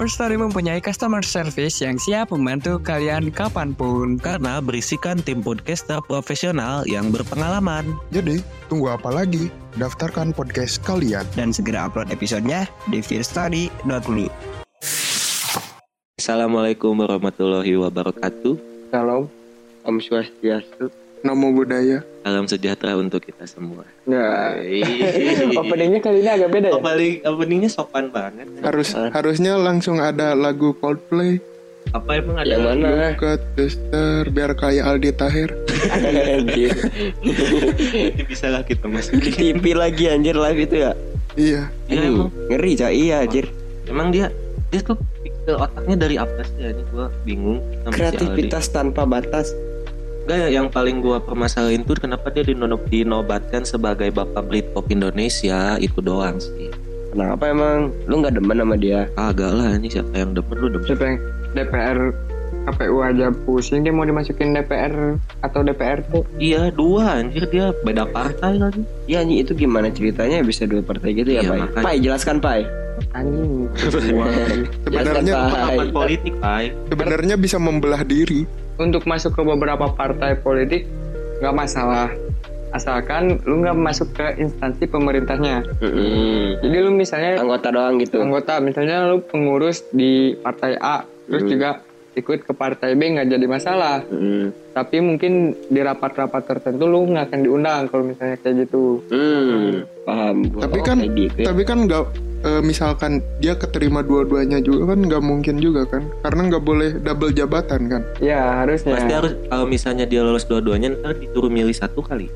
Firstory mempunyai customer service yang siap membantu kalian kapanpun. Karena berisikan tim podcaster profesional yang berpengalaman. Jadi, tunggu apa lagi? Daftarkan podcast kalian. Dan segera upload episodenya di fearstory.me. Assalamualaikum warahmatullahi wabarakatuh. Salam Om Swastiastu. Namo Buddhaya. Nah. Salam sejahtera untuk kita semua. Ya. Openingnya kali ini agak beda ya. Opening, openingnya sopan banget. Harus harusnya langsung ada lagu Coldplay, Apa emang ada Yang mana? Cut Sister, biar kayak Aldi Tahir. Anjir. Nanti bisa lah kita masukin. TV lagi anjir live itu ya. Iya, Ya, emang, Ngeri coy, iya anjir. emang dia dia tuh pixel otaknya dari apa sih ini gua bingung sama si Kreativitas tanpa batas. Aldi. Enggak yang paling gua permasalahin tuh kenapa dia dinonop dinobatkan sebagai bapak Britpop Indonesia itu doang sih. Kenapa emang lu nggak demen sama dia? Agak lah ini siapa yang demen lu demen. Siapa yang DPR KPU aja pusing dia mau dimasukin DPR atau DPRD. Iya dua anjir dia beda partai lagi. Ya anjing itu gimana ceritanya bisa dua partai gitu ya, Iya, Pai? makanya. Pai jelaskan Pai. Anjing. sebenarnya Jelaskan, Pai. Pendapat politik pai. sebenarnya bisa membelah diri. Untuk masuk ke beberapa partai politik nggak masalah. Asalkan lu nggak masuk ke instansi pemerintahnya. Jadi lu misalnya Anggota doang gitu. anggota, misalnya lu pengurus di partai A, terus juga ikut ke partai B nggak jadi masalah. Hmm. tapi mungkin di rapat-rapat tertentu lu nggak akan diundang kalau misalnya kayak gitu Hmm, paham. Gua. Tapi Oh, kan- kayak gitu ya. Iya. Tapi kan nggak eh, misalkan dia keterima dua-duanya juga kan nggak mungkin juga kan, karena nggak boleh double jabatan kan. ya harusnya Iya. Pasti harus kalau misalnya dia lolos dua-duanya ntar disuruh milih satu kali.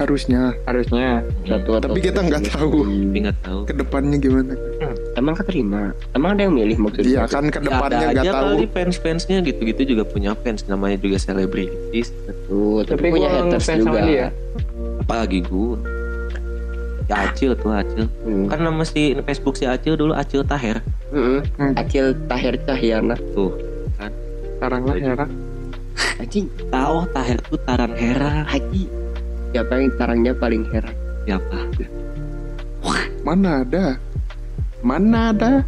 Harusnya. harusnya Satu atau Tapi kita nggak tahu Tapi nggak tahu. kedepannya gimana. Emang keterima? Emang ada yang milih Iya maksudnya? kan kedepannya ada nggak aja tahu. kali fans-fansnya gitu-gitu juga punya fans namanya juga selebritis Betul, tapi, tapi, punya gua haters ngefans juga. sama dia apalagi gue ya Acil tuh Acil Hmm. kan nama si Facebook si Acil dulu Acil Taher Mm-mm. Hmm. Acil Tahir Cahyana. tuh sekarang lah ya kan Anjing, Tao Taher tuh Tarang Hera Haji. Siapa yang tarangnya paling heran? siapa Mana ada? Mana ada?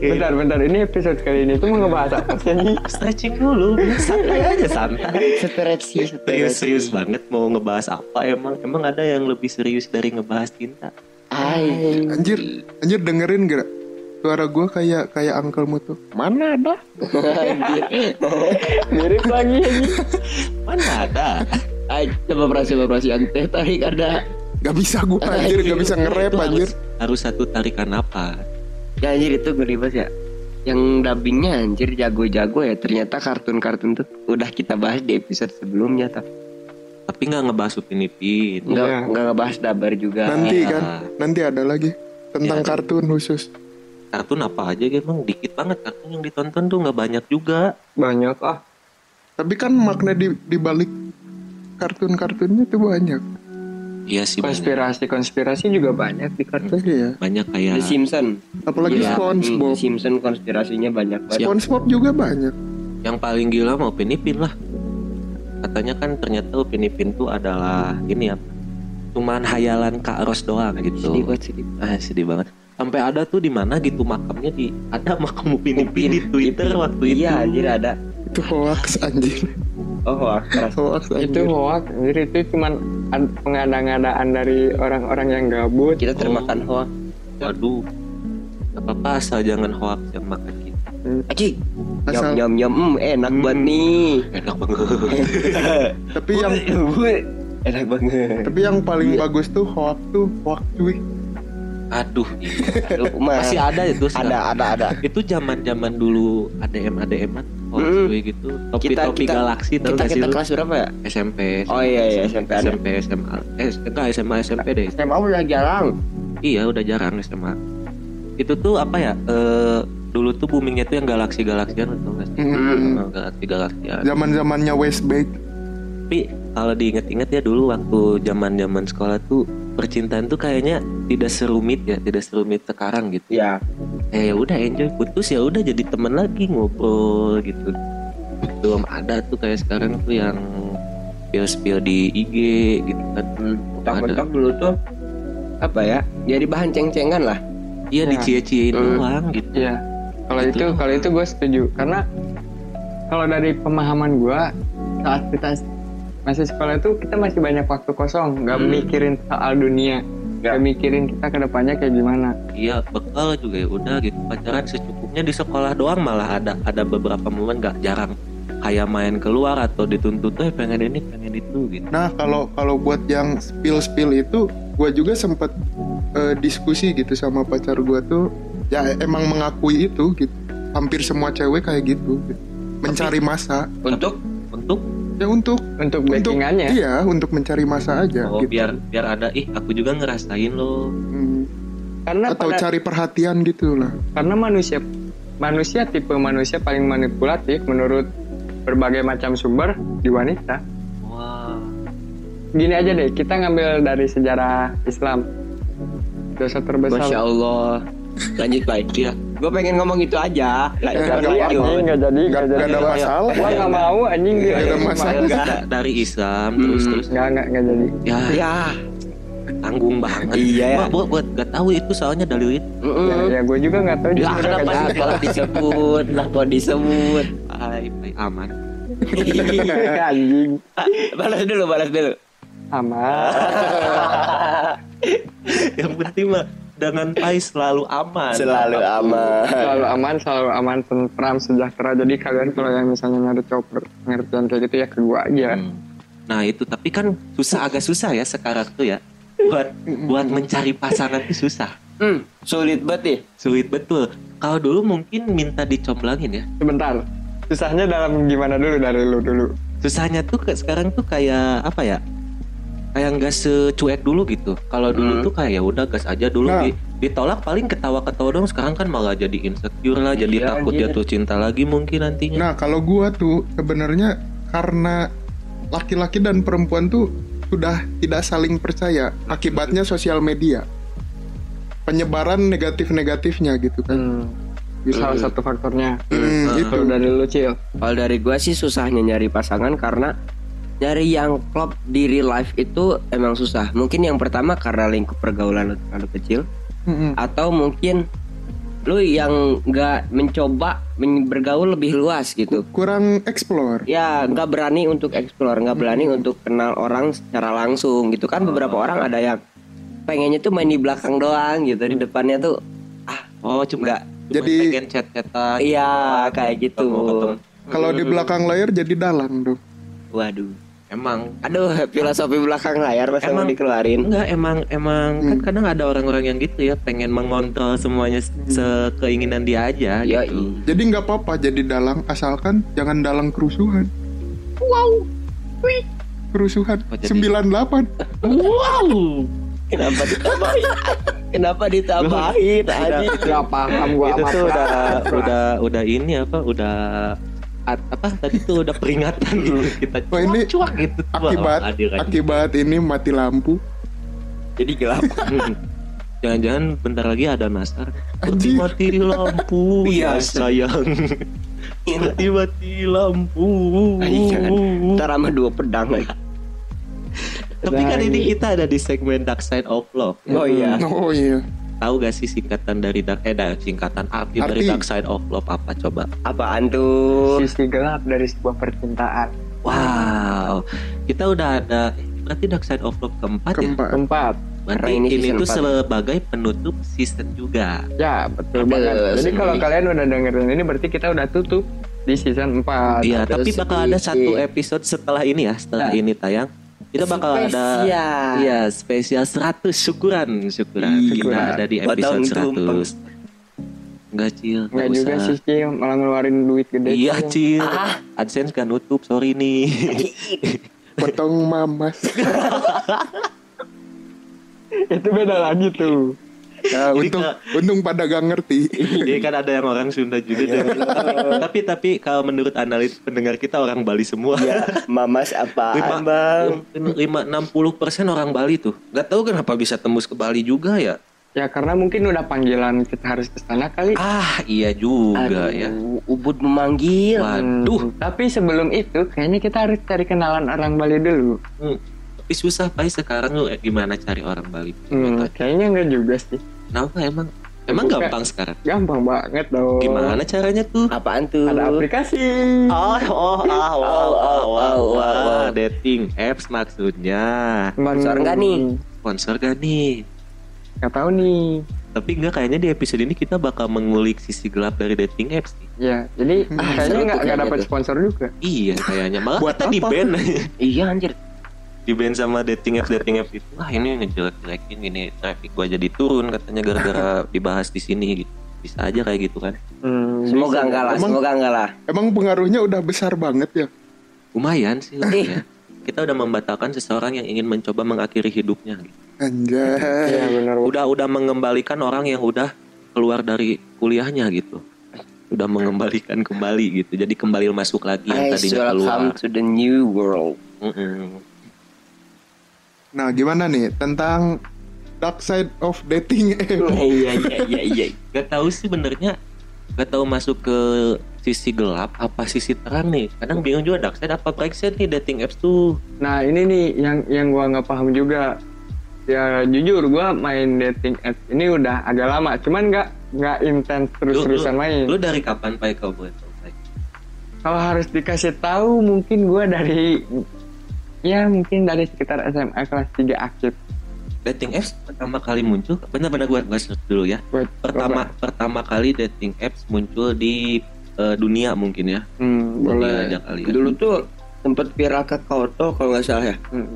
bentar bentar ini episode kali ini tuh mau ngebahas apa sih anjing? stretching dulu santai aja santai Hmm. Seret sih, seret. serius serius banget mau ngebahas apa emang emang ada yang lebih serius dari ngebahas cinta Ay. Anjir, anjir dengerin gak? Suara gua kayak kayak Uncle Mutu. Mana ada? Anjir. mirip lagi anjing. mana ada Ay, coba operasi operasi teh tarik ada. Gak bisa gua anjir, gak bisa nge-rap Itu anjir. harus, harus satu tarikan apa Ya anjir itu ngeri banget ya. Yang dubbingnya anjir jago-jago ya. Ternyata kartun-kartun tuh udah kita bahas di episode sebelumnya tapi tapi nggak ngebahas Upin Ipin Enggak Iya. enggak ngebahas dabar juga. Nanti Iya. kan, nanti ada lagi tentang Iya. kartun khusus. kartun apa aja emang dikit banget kartun yang ditonton tuh nggak banyak juga banyak ah Tapi kan makna di di balik kartun-kartunnya itu banyak. iya sih banyak konspirasi konspirasi juga banyak di kartu Iya. banyak kayak The Ya, Simpson. Apalagi Gila, SpongeBob. The Simpson konspirasinya banyak banget. SpongeBob juga banyak. yang paling gila mau Upin Ipin lah katanya kan ternyata Upin Ipin tuh adalah ini apa cuman hayalan Kak Ros doang gitu Sedih banget sedih. ah sedih banget sampai ada tuh di mana gitu makamnya di ada makam Upin Ipin di Twitter waktu itu Iya anjir ada. Itu hoax anjir. Oh, wah, keras. Hoax itu anjir. hoax jadi itu cuman ad- pengadang-adaan dari orang-orang yang gabut Kita termakan hoax. waduh gak apa-apa asal jangan hoax yang makan kita Aji. Asal- Nyam nyam nyam. Hmm, enak buat nih. enak banget Tapi yang enak banget. tapi yang paling bagus tuh hoax tuh hoax cuy. Aduh, iya. Aduh, Mas, masih ada itu. ada sekarang. ada ada Itu zaman zaman dulu ADM ADM an oh, Mm-mm. gitu. Topi Hmm. Kita- topi kita- galaksi tau kita gak sih kita lu? kelas berapa ya SMP. oh iya iya SMP ada SMP SMA. Eh, enggak SMA SMP deh. SMA udah ya, jarang Iya, udah jarang SMA. Itu tuh apa ya? Eh dulu tuh boomingnya tuh yang galaksi galaksian atau enggak sih? Hmm. Eh, Mm-mm. Galaksi galaksian. zaman zamannya Westbake Tapi kalau diinget-inget ya dulu waktu zaman zaman sekolah tuh percintaan tuh kayaknya tidak serumit ya, tidak serumit sekarang gitu. ya Eh ya udah enjoy putus ya udah jadi temen lagi ngobrol gitu. Belum ada tuh kayak sekarang tuh yang spill-spill di IG gitu kan. Hmm, mentok-mentok dulu tuh apa ya jadi bahan ceng-cengan lah Iya Ya. dicie-ciein Hmm. doang gitu. Iya. Kalau itu Betul. kalau itu gue setuju karena kalau dari pemahaman gue saat kita masih sekolah itu kita masih banyak waktu kosong, nggak Hmm. mikirin soal dunia, nggak mikirin kita kedepannya kayak gimana. Iya bekal juga ya udah gitu pacaran secukupnya di sekolah doang malah ada ada beberapa momen gak jarang kayak main keluar atau dituntut eh pengen ini pengen itu gitu. Nah kalau kalau buat yang spill spill itu, gue juga sempet eh, diskusi gitu sama pacar gue tuh, ya emang mengakui itu gitu. Hampir semua cewek kayak gitu, gitu. mencari masa. untuk Untuk Ya untuk Untuk untuk backingannya, iya untuk mencari Ya, masa aja. oh gitu. biar biar ada ih aku juga ngerasain loh. Hmm. karena Atau pada- cari perhatian gitu lah. karena manusia manusia tipe manusia paling manipulatif menurut berbagai macam sumber di wanita. Wah. Gini aja deh, kita ngambil dari sejarah Islam. Dosa terbesar. Masya Allah lanjut ya. baik Iya. gue pengen ngomong gitu aja nggak Eh, Nggak nggak jadi, apa-apa. anjing, nggak jadi, nggak Gak, Iya, jadi. ada Gua masalah. Iya, nggak mau anjing Nggak ada Nggak, masalah. Da- dari Islam terus Hmm. terus Nggak nggak nggak jadi. ya ya tanggung banget. Iya, ya. Gua- gua- gua nggak tahu itu soalnya dalil itu. Ya, Mm-mm. ya gue juga nggak tahu Ya, juga nggak kenapa jadi. sih kalau disebut? Lah kalau disebut. Bye, bye, aman. gitu. anjing. balas dulu, balas dulu. Sama. Yang penting mah dengan pai selalu aman. Selalu aman. Selalu aman, selalu aman, tentram, sejahtera. Jadi kalian kalau yang misalnya nyari cowok pengertian kayak gitu ya ke gue aja. kan? Nah itu tapi kan susah agak susah ya sekarang tuh ya buat buat mencari pasangan itu susah Hmm, sulit banget nih. sulit betul. Kalau dulu mungkin minta dicomblangin ya. Sebentar. Susahnya dalam gimana dulu dari lu dulu. Susahnya tuh ke- sekarang tuh kayak apa ya? Kayak nggak secuek dulu gitu. Kalau dulu tuh kayak ya udah gas aja dulu Nah. di- ditolak paling ketawa-ketawa dong. Sekarang kan malah jadi insecure lah, jadi Iya, takut anjir. jatuh cinta lagi mungkin nantinya. Nah kalau gue tuh sebenarnya karena laki-laki dan perempuan tuh sudah tidak saling percaya akibatnya sosial media penyebaran negatif-negatifnya gitu Hmm. kan Salah satu faktornya. Hmm, itu Kalau dari lu cil. Kalau dari gua sih susahnya nyari pasangan karena nyari yang klop di real life itu emang susah. Mungkin yang pertama karena lingkup pergaulan lu terlalu kecil Mm-mm. atau mungkin lu yang nggak mencoba men- bergaul lebih luas gitu. kurang explore ya nggak berani untuk explore nggak berani untuk kenal orang secara langsung gitu kan beberapa orang ada yang pengennya tuh main di belakang doang gitu di depannya tuh ah Oh cuma nggak Jadi- pengen chat-chatan. iya kayak gitu Ketemu, ketemu. kalau Hmm. di belakang layar jadi dalang dong waduh Emang aduh filosofi belakang layar masa mau Emang- dikeluarin Enggak, emang emang kan Hmm. kadang ada orang-orang yang gitu ya pengen mengontrol semuanya se- Hmm. sekeinginan dia aja ya gitu. jadi nggak apa-apa jadi dalang asalkan jangan dalang kerusuhan wow Wih. kerusuhan Oh, jadi- 98 Wow. kenapa ditambahin kenapa ditambahin tadi Gak paham gue Itu amat. tuh udah udah udah ini apa udah at- apa tadi tuh udah peringatan gitu Hmm. kita Oh, ini cuak-cuak gitu Wah, akibat hadir aja. akibat ini mati lampu jadi gelap Hmm. Jangan-jangan bentar lagi ada nastar. Anjir. Mati lampu ya Iya, sayang. Mati-mati lampu. Iya, kan? ntar sama dua pedang lagi Tapi kan ini kita ada di segmen Dark Side of Love. Nah, iya. oh iya oh iya Tahu gak sih singkatan dari dark eh dari singkatan arti, dari Arti. dark side of love apa coba? apaan tuh Sisi gelap dari sebuah percintaan. Wow, kita udah ada berarti dark side of love keempat, ya. keempat Tempat. Berarti Karena ini ini, season tuh empat. sebagai penutup season juga. Ya, betul Ada banget. Jadi sendiri. kalau kalian udah dengerin ini berarti kita udah tutup di season 4. Iya, ada Ah, tapi bakal ada sedikit. satu episode setelah ini ya, setelah ini tayang. Kita bakal ada Spesial. Iya, spesial 100 syukuran, syukuran. Iya. Kita ada di Batal episode untuk 100. Enggak, Cil. Enggak nggak juga usah. sih Cil, malah ngeluarin duit gede. Iya, Cil. Cil. Ah. AdSense kan nutup, sorry nih. potong mamas Itu beda lagi tuh. ya untung untung pada gak ngerti Jadi kan ada yang orang Sunda juga deh. tapi tapi kalau menurut analis pendengar kita orang Bali semua. Ya, mamas apaan bang? lima enam puluh persen orang Bali tuh. Gak tahu kenapa bisa tembus ke Bali juga ya. Ya karena mungkin udah panggilan kita harus ke sana kali. Ah iya juga Aduh, ya. Ubud memanggil. Waduh. Hmm, Tapi sebelum itu kayaknya kita harus cari kenalan orang Bali dulu. Hmm. Tapi susah Pak sekarang lu eh, gimana cari orang Bali? Hmm, kayaknya enggak juga sih. Kenapa emang emang Bukan. gampang sekarang? Gampang banget dong. Gimana caranya tuh? Apaan tuh? Ada aplikasi. Oh, oh, ah, wow, wow, Oh, oh, wow, oh, oh, oh. Ah, dating apps maksudnya. Sponsor nggak nih? Sponsor gak nih? Gak tahu nih. Tapi enggak kayaknya di episode ini kita bakal mengulik sisi gelap dari dating apps nih. Ya, jadi seru kayaknya tuh nggak nggak kayaknya dapat tuh. sponsor juga. Iya kayaknya. Malah Buat kita di apa? ban. Iya anjir. di ban sama dating apps dating apps itu. Wah, ini ngejelek-jelekin gini traffic gua jadi turun katanya gara-gara dibahas di sini gitu. Bisa aja kayak gitu kan. Hmm, Semoga enggak lah, Emang- semoga enggak lah. emang pengaruhnya udah besar banget ya Lumayan sih lah ya. Kita udah membatalkan seseorang yang ingin mencoba mengakhiri hidupnya. Gitu. Iya anjay benar. Udah udah mengembalikan orang yang udah keluar dari kuliahnya gitu. Udah mengembalikan kembali gitu. Jadi kembali masuk lagi yang Guys, tadinya keluar. welcome to the new world. Mm-mm. nah gimana nih tentang dark side of dating Eh, app Iya iya iya iya. Gak tahu sih benernya Gak tahu masuk ke sisi gelap apa sisi terang nih Kadang bingung juga dark side apa bright side nih dating apps tuh Nah ini nih yang yang gua nggak paham juga. Ya jujur gua main dating apps ini udah agak lama, cuman nggak nggak intens terus-terusan main. Lu dari kapan Pai kau boleh tahu, Pai? Kalau harus dikasih tahu mungkin gua dari ya mungkin dari sekitar SMA kelas 3 akhir. Dating apps pertama kali muncul Bener-bener gue gua search dulu ya Gua- Pertama pertama kali dating apps muncul di eh, dunia mungkin ya Hmm, Dunia Iya, boleh. aja kali ya Dulu tuh sempat viral ke Koto kalau nggak salah ya. Hmm.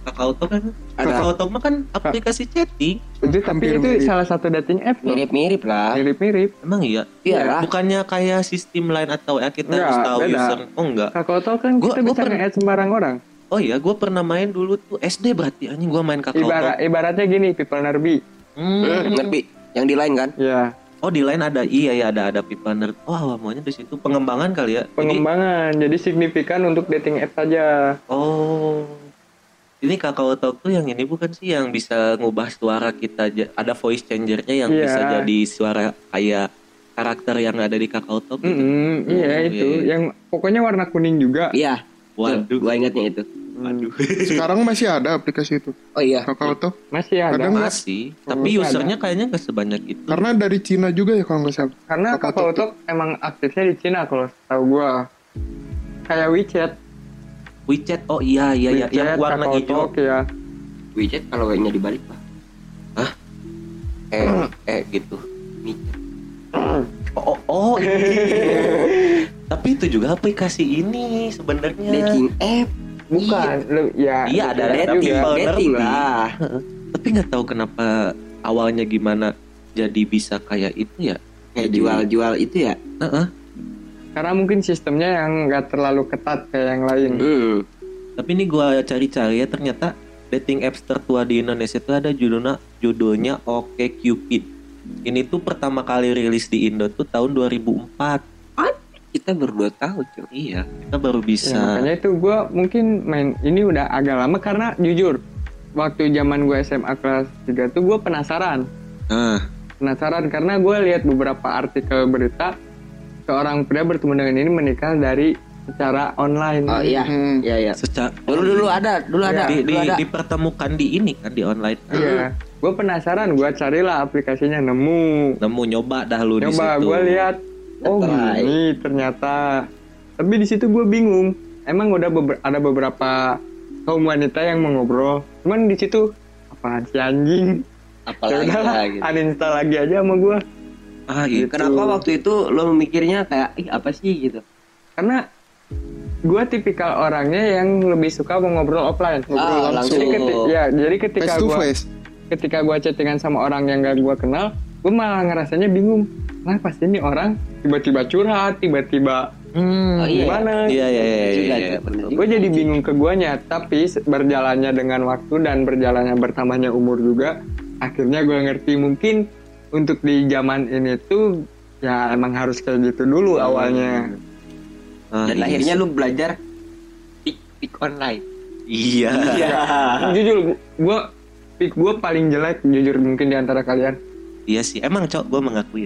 Kakao Talk kan Ada. Kakao Talk mah kan aplikasi chatting Itu tapi Hampir itu mirip. salah satu dating apps loh. Mirip-mirip lah. Mirip-mirip. Emang iya? Iya. Bukannya kayak sistem lain atau ya kita Enggak, harus tahu beda. user Oh enggak Kakao Talk kan Gua- kita gua bisa pernah- nge-add sembarang orang. Oh iya, gue pernah main dulu tuh SD berarti anjing gue main kakao Ibarat Talk. ibaratnya gini, people nerbi. Hmm. Ngerti? Yang di lain kan? Ya, Oh di lain ada iya ya ada ada pipa nerd. Wah maunya di situ pengembangan kali ya. Jadi- pengembangan. Jadi signifikan untuk dating app saja. oh ini kakao Talk tuh yang ini bukan sih yang bisa ngubah suara kita aja. Ada voice changernya yang Iya. bisa jadi suara kayak karakter yang ada di kakao Talk. gitu. Mm-mm, iya Oh, itu. iya, iya. Yang pokoknya warna kuning juga. Iya. Waduh. Gua ingatnya itu. Waduh. sekarang masih ada aplikasi itu Oh iya. kakao tuh Masih ada. Kadang- Masih, Enggak tapi ada. usernya kayaknya gak sebanyak itu. karena dari Cina juga ya kalau nggak salah Karena Kakao Kakao Talk emang aktifnya di Cina kalau tahu gua. Kayak WeChat. WeChat, oh iya iya iya, WeChat, yang warna Kakao hijau. Talk, ya. WeChat kalau W-nya dibalik lah. eh eh gitu oh oh, oh iya. tapi itu juga aplikasi ini sebenarnya Iya. Dating app. Bukan, lu- ya. Iya, ada ya juga. dating people. Dating ngerti. lah. tapi nggak tahu kenapa awalnya gimana jadi bisa kayak itu ya Kayak jual-jual itu ya. Heeh. Karena mungkin sistemnya yang nggak terlalu ketat kayak yang lain. Ya, Hmm. tapi ini gua cari-cari ya ternyata dating apps tertua di Indonesia itu ada judulnya judulnya Oke Cupid ini tuh pertama kali rilis di Indo tuh tahun 2004 Kita berdua tahu cuy. iya kita baru Ya, bisa makanya itu gue mungkin main ini udah agak lama karena jujur waktu zaman gue SMA kelas 3 tuh gue penasaran Nah, penasaran karena gue lihat beberapa artikel berita seorang pria bertemu dengan ini menikah dari secara online Oh iya. Hmm. Iya iya. secara Dulu dulu ada, dulu Iya. ada, di, dulu di- ada. dipertemukan di ini kan di online gue Iya. penasaran gue carilah aplikasinya nemu nemu nyoba dah lu di coba situ. gue lihat oh Apply. gini ternyata tapi di situ gue bingung emang udah beber- ada beberapa kaum wanita yang mengobrol cuman di situ apaan si anjing ya Apalagi udahlah lah, gitu. uninstall lagi aja sama gue Ah, iya. gitu. Kenapa waktu itu lo memikirnya kayak ih apa sih gitu? karena gue tipikal orangnya yang lebih suka mengobrol offline. Ngobrol Ah, langsung. Jadi ketika, ya, jadi ketika face to gue face. ketika gue chattingan sama orang yang gak gue kenal, gue malah ngerasanya bingung. Nah pasti ini orang tiba-tiba curhat, tiba-tiba Oh, iya. gimana? Iya iya iya iya, Juga iya, tuh, bener betul. juga. Gue jadi bingung ke guanya, tapi se- berjalannya dengan waktu dan berjalannya bertambahnya umur juga, akhirnya gue ngerti mungkin untuk di zaman ini tuh ya emang harus kayak gitu dulu awalnya. Ah, Dan iya akhirnya sih. lu belajar pick pick online. iya. Jujur, gue pick gue paling jelek jujur mungkin di antara kalian. Iya sih. Emang cok gue mengakui.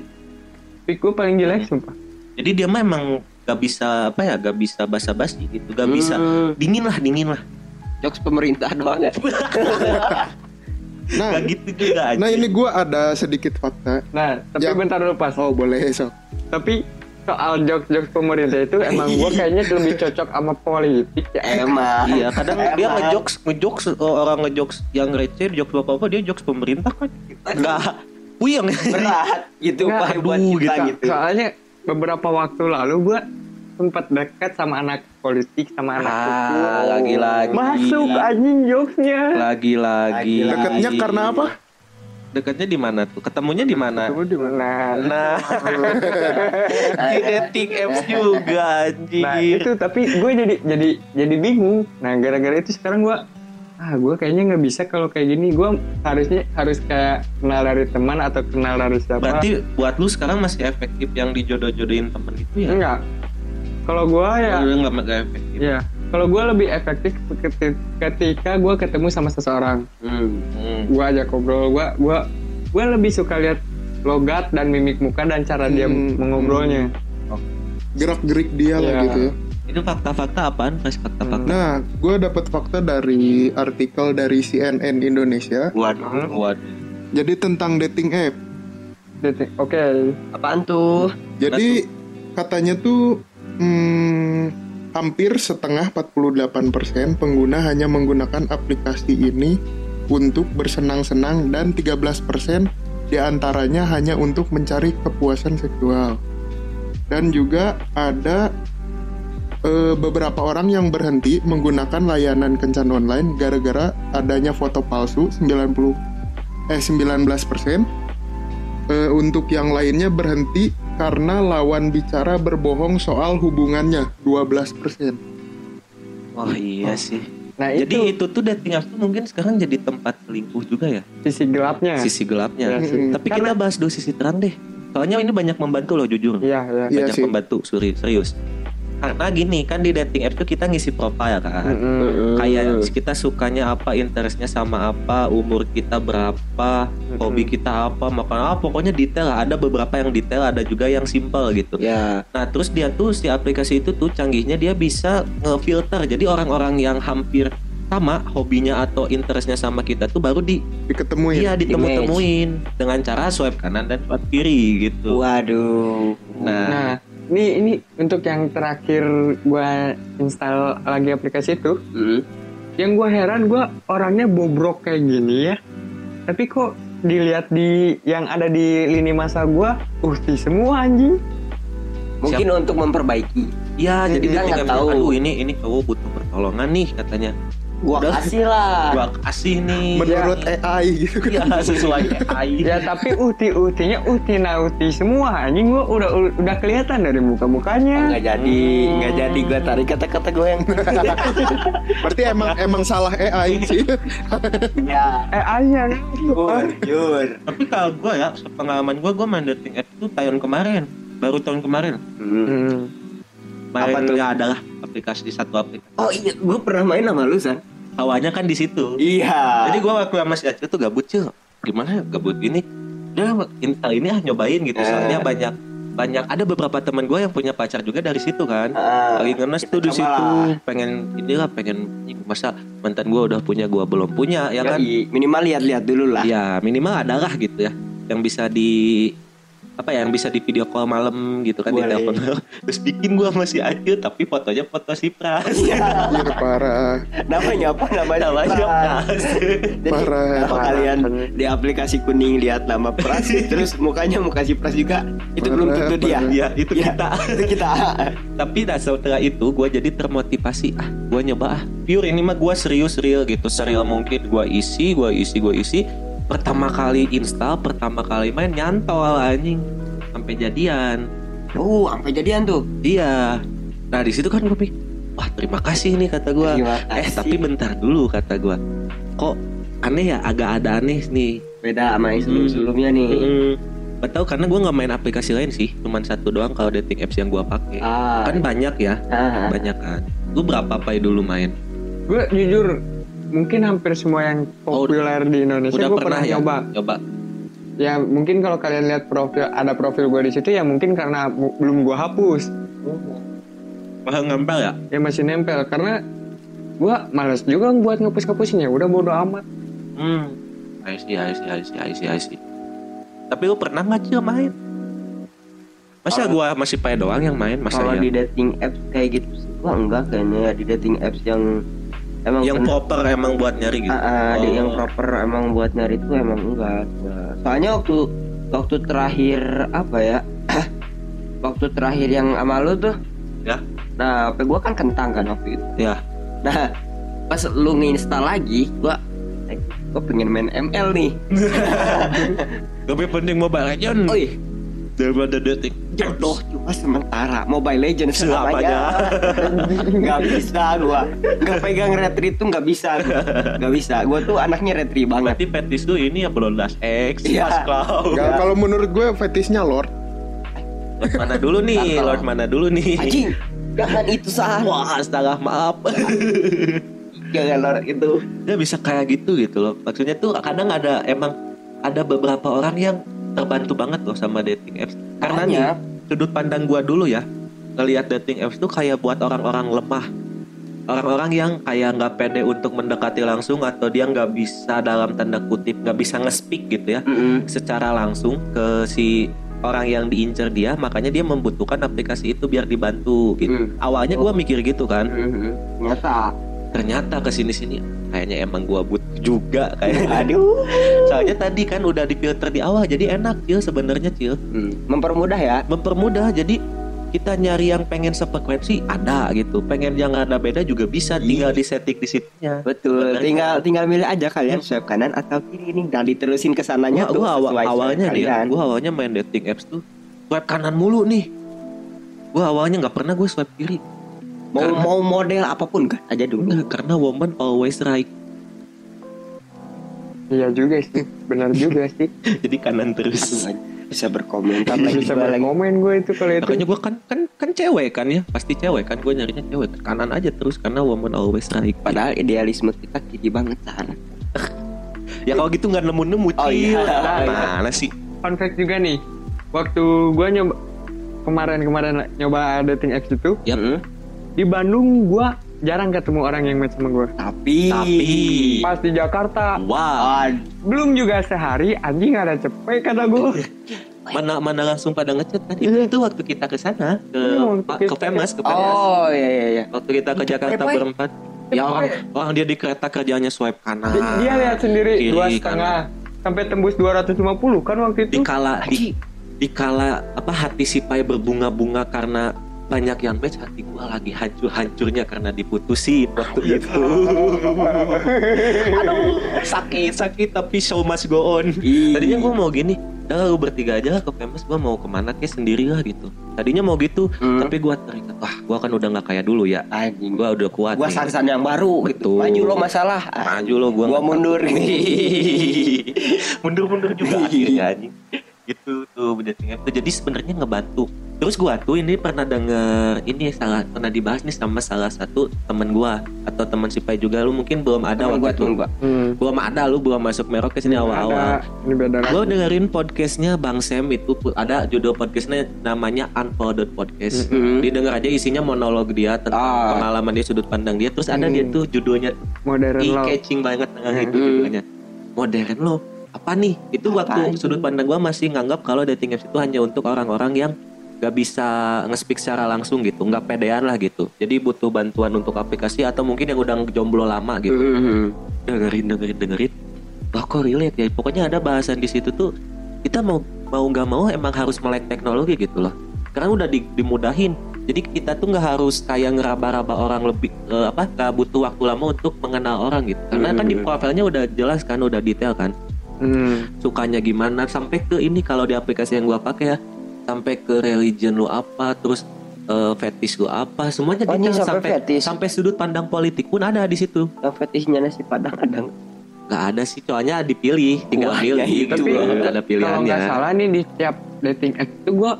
Pick gue paling jelek sumpah. Jadi dia mah emang gak bisa apa ya gak bisa basa-basi gitu gak bisa Hmm. dingin lah dingin lah Jokes pemerintah doang ya. Nah, gak gitu juga nah anjing. ini gue ada sedikit fakta. Nah, tapi Jam. bentar dulu pas. Oh boleh sok. Tapi soal jokes-jokes pemerintah itu emang gue kayaknya lebih cocok sama politik ya. Emang. Iya, kadang dia Emang. ngejokes, ngejokes eh, orang ngejokes yang receh, jokes apa apa dia jokes pemerintah kan. Enggak puyeng. berat gitu Enggak, pak buat aduh, kita So- gitu. Soalnya beberapa waktu lalu gue sempat dekat sama anak politik gitu. sama anak hukum. Ah, lagi-lagi. Masuk anjing jokesnya. Lagi-lagi. Dekatnya iya, karena apa? Dekatnya di mana tuh? Ketemunya di mana? Coba di mana? Nah, Nah, di dating apps juga anjing. nah itu tapi gue jadi jadi jadi bingung. Nah gara-gara itu sekarang gue ah gue kayaknya nggak bisa kalau kayak gini gue harusnya harus kayak kenal dari teman atau kenal dari siapa Berarti buat lu sekarang masih efektif yang dijodoh-jodohin temen gitu ya? enggak kalau gue ya Lu enggak enggak efektif. Iya, kalau gue lebih efektif keti- ketika gue ketemu sama seseorang. Hmm. Gue ajak ngobrol, gue gua gue lebih suka lihat logat dan mimik muka dan cara dia Hmm. mengobrolnya. Gerak gerik dia lah Iya. gitu ya. Itu fakta-fakta apaan? Mas fakta-fakta. Nah, gue dapat fakta dari artikel dari CNN Indonesia. Hmm. Waduh. Waduh. Jadi tentang dating app. Detik- Oke, Apaan tuh? Jadi katanya tuh hmm, hampir setengah 48% pengguna hanya menggunakan aplikasi ini untuk bersenang-senang dan 13% diantaranya hanya untuk mencari kepuasan seksual. Dan juga ada eh, beberapa orang yang berhenti menggunakan layanan kencan online gara-gara adanya foto palsu 90 eh 19% Eh, untuk yang lainnya berhenti karena lawan bicara berbohong soal hubungannya 12%. Wah, iya sih. nah Jadi itu itu tuh dating apps tuh mungkin sekarang jadi tempat selingkuh juga ya, sisi gelapnya. sisi gelapnya. Iya sih. Mm-mm. Tapi kita bahas dulu sisi terang deh. Soalnya ini banyak membantu loh jujur. Iya, iya. Iya banyak sih. membantu, suri- serius. Karena gini kan di dating apps tuh kita ngisi profile Hmm. kan. Mm-mm. Kayak kita sukanya apa, interestnya sama apa, umur kita berapa, Hmm. hobi kita apa, makan apa, pokoknya detail lah. Ada beberapa yang detail, ada juga yang simple gitu. Ya. Nah terus dia tuh si aplikasi itu tuh canggihnya dia bisa ngefilter. Jadi orang-orang yang hampir sama hobinya atau interestnya sama kita tuh baru di Diketemuin. iya ditemu-temuin dengan cara swipe kanan dan swipe kiri gitu. Waduh. Nah, Nah, ini ini untuk yang terakhir gue install lagi aplikasi itu. Hmm. yang gue heran gue orangnya bobrok kayak gini ya tapi kok dilihat di yang ada di lini masa gue uhti semua anjing Mungkin untuk memperbaiki. ya jadi dia Kita Iya, nggak tinggal tahu. aduh ini ini cowok butuh pertolongan nih katanya. Gua Udah. kasih lah. Gua kasih nih. Menurut AI gitu kan. ya sesuai AI. ya tapi uhti uhtinya uhti nauti semua anjing gue udah udah kelihatan dari muka mukanya Nggak jadi, nggak jadi gua tarik kata-kata gue yang Berarti emang emang salah AI sih. ya. eh ayah Jujur. Tapi kalau gue ya pengalaman gue gue main dating app itu tahun kemarin baru tahun kemarin Hmm. Hmm. Apa main tuh? ya adalah aplikasi satu aplikasi Oh iya, gue pernah main sama lu, San. awalnya kan di situ Iya. Jadi gua waktu sama si Acil tuh gabut cil Gimana ya gabut gini Udah ini, kali ini ah nyobain gitu Eh. Soalnya banyak banyak ada beberapa teman gue yang punya pacar juga dari situ kan Ah, lagi ngenes kita tuh di coba situ lah. pengen inilah pengen "Ih, masa mantan gua udah punya gua belum punya ya kan Iya. Yoi. minimal lihat-lihat dulu lah. ya minimal adalah gitu ya yang bisa di apa ya yang bisa di video call malam gitu kan Boleh. di telepon malam. terus bikin gua masih Acil tapi fotonya foto si Pras Iya, Anjir Iya, parah, namanya apa namanya namanya Pras. Pras Jadi, Parah. kalau Parah. kalian di aplikasi kuning lihat nama Pras terus mukanya muka si Pras juga itu Parah, belum tentu dia parah. ya itu Ya. kita itu kita tapi nah setelah itu gue jadi termotivasi ah gue nyoba ah pure ini mah gue serius real gitu serial mungkin gue isi gue isi gue isi pertama kali install pertama kali main nyantol anjing sampai jadian oh sampai jadian tuh iya nah di situ kan gue pikir wah terima kasih nih kata gue eh tapi bentar dulu kata gue kok aneh ya agak ada aneh nih beda sama yang Hmm. sebelum-sebelumnya nih Mm-mm. Gak tau karena gue nggak main aplikasi lain sih cuman satu doang kalau dating apps yang gue pakai ah, kan banyak ya ah, banyak kan lu berapa pai dulu main gue jujur mungkin hampir semua yang Oh, populer di Indonesia udah gue pernah, pernah, ya nyoba coba ya mungkin kalau kalian lihat profil ada profil gue di situ ya mungkin karena mu- belum gue hapus mahal ngempel ya ya masih nempel karena gue males juga buat ngapus ngapusinnya udah bodo amat hmm I see I see I see I see I see. tapi lu pernah nggak Cil, main masa gua masih pai doang yang main masa kalau ya di dating apps kayak gitu sih gua enggak kayaknya ya, di dating apps yang emang yang pen- proper emang buat nyari gitu Ah, ah, di- Oh. yang proper emang buat nyari tuh emang enggak Nah, soalnya waktu waktu terakhir apa ya waktu terakhir yang sama lu tuh Ya. nah HP gua kan kentang kan waktu itu Ya. nah pas lu nginstal lagi gua eh, gua pengen main ML nih lebih penting mobile legend oi daripada detik jodoh cuma sementara Mobile Legends Selamanya. selamanya nggak bisa gua nggak pegang retri itu nggak bisa gua. nggak bisa gua tuh anaknya retri banget berarti petis lu ini ya belum last X Iya. Mas Klau. Nggak, kalau menurut gue fetishnya lord Lord mana dulu nih Tantang. Lord mana dulu nih anjing jangan itu sah wah astaga maaf jangan lor itu dia bisa kayak gitu gitu loh maksudnya tuh kadang ada emang ada beberapa orang yang terbantu banget loh sama dating apps karena nih Makanya, sudut pandang gua dulu ya ngelihat dating apps tuh kayak buat orang-orang lemah orang-orang yang kayak nggak pede untuk mendekati langsung atau dia nggak bisa dalam tanda kutip nggak bisa nge-speak gitu ya mm-mm. secara langsung ke si orang yang diincar dia makanya dia membutuhkan aplikasi itu biar dibantu gitu Mm, awalnya gua mikir gitu kan mm-mm. nyata ternyata ke sini sini kayaknya emang gua butuh juga kayak aduh soalnya tadi kan udah difilter di awal jadi enak cil sebenarnya cil Mm, mempermudah ya mempermudah jadi kita nyari yang pengen sefrekuensi ada gitu pengen yang ada beda juga bisa Iya. tinggal di setting di situnya betul Benar. tinggal tinggal milih aja kalian swipe kanan atau kiri nih dan diterusin ke sananya gua, tuh gua awa- sesuai swipe awalnya nih ya, kalian. gua awalnya main dating apps tuh swipe kanan mulu nih gua awalnya nggak pernah gue swipe kiri mau Karena- mau model apapun kan aja dulu Nah, karena woman always right iya juga sih benar juga sih jadi kanan Aduh, terus anjing. bisa berkomentar lagi bisa gua lagi berkomen gue itu kalau itu makanya gue kan kan kan cewek kan ya pasti cewek kan gue nyarinya cewek kanan aja terus karena woman always right Padahal idealisme kita tinggi banget kan. ya kalau gitu nggak nemu nemu Oh, iya. Nah, mana sih fun fact juga nih waktu gue nyoba kemarin-kemarin lah, nyoba dating apps itu Yap. Mm, di Bandung gue jarang ketemu orang yang match sama gue Tapi, Tapi. pas di Jakarta wow Ad- belum juga sehari anjing ada cepet kata gue mana mana langsung pada ngechat tadi itu waktu kita ke sana ke Iya, waktu pa- ke kita- famous ke famous oh iya iya iya. waktu kita ke Jakarta Cepet, Pak. berempat ya orang orang dia di kereta kerjanya swipe kanan dia, dia lihat sendiri Ah, kiri, dua kanan. setengah sampai tembus 250 kan waktu itu dikala di, dikala apa hati si Pai berbunga-bunga karena banyak yang match hati gua lagi hancur-hancurnya karena diputusin Iya. waktu itu Aduh, sakit sakit tapi show must go on tadinya gua mau gini udah lu bertiga aja lah ke famous gua mau kemana kayak sendiri lah gitu tadinya mau gitu Hmm. tapi gua terikat wah gua kan udah nggak kayak dulu ya Anjing. Gua, gua udah kuat gua nih. san-san yang baru gitu. Betul. Maju lo masalah. Ah, maju lo gua Gua nggak- mundur. mundur-mundur juga akhirnya Iya, anjing gitu tuh dating app tuh jadi sebenarnya ngebantu terus gua tuh ini pernah denger ini salah pernah dibahas nih sama salah satu temen gua atau teman si Pai juga lu mungkin belum ada waktu Temen gua itu temen gua. Hmm, gua mah ada lu belum masuk merok ke sini awal-awal ada ini beda lagi. gua dengerin podcastnya Bang Sam itu pu- ada judul podcastnya namanya Unfolded Podcast Hmm. didengar aja isinya monolog dia tentang Ah. pengalaman dia sudut pandang dia terus ada Hmm. dia tuh judulnya modern eye love catching banget tengah nah, itu Hmm. judulnya modern lo apa nih itu Apa waktu itu? sudut pandang gua masih nganggap kalau dating apps itu hanya untuk orang-orang yang gak bisa nge-speak secara langsung gitu nggak pedean lah gitu jadi butuh bantuan untuk aplikasi atau mungkin yang udah jomblo lama gitu Mhm. dengerin dengerin dengerin Wah kok relate ya pokoknya ada bahasan di situ tuh kita mau mau nggak mau emang harus melek teknologi gitu loh karena udah di- dimudahin jadi kita tuh nggak harus kayak ngeraba-raba orang lebih eh, apa nggak butuh waktu lama untuk mengenal orang gitu karena kan di Hmm. profilnya udah jelas kan udah detail kan Hmm. sukanya gimana sampai ke ini kalau di aplikasi yang gua pakai ya sampai ke religion lu apa terus eh, fetish lu apa semuanya Oh, ini detail sampai sampai fetish. sampai sudut pandang politik pun ada di situ yang fetishnya nasi padang kadang nggak ada sih soalnya dipilih tinggal Wah, pilih ya itu. gitu Tapi nggak ada Kalau pilihannya nggak salah nih di tiap dating app itu gue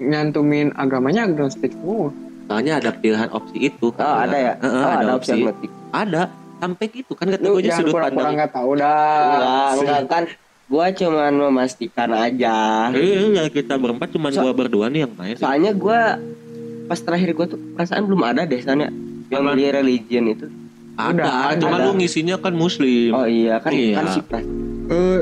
nyantumin agamanya agnostik semua. soalnya ada pilihan opsi itu kan oh ada ya Heeh, oh, ada, ada opsi agnostik. ada sampai gitu kan Lu kategorinya jangan sudut pura-pura pandang Iya. nggak tahu dah. Enggak, enggak kan gua cuman memastikan aja eh nggak, kita berempat cuman So- gua berdua nih yang main soalnya gua pas terakhir gua tuh perasaan belum ada deh sana yang Apa? di religion itu ada, udah, cuma ada. lu ngisinya kan muslim oh iya kan Iya. kan si pras Eh,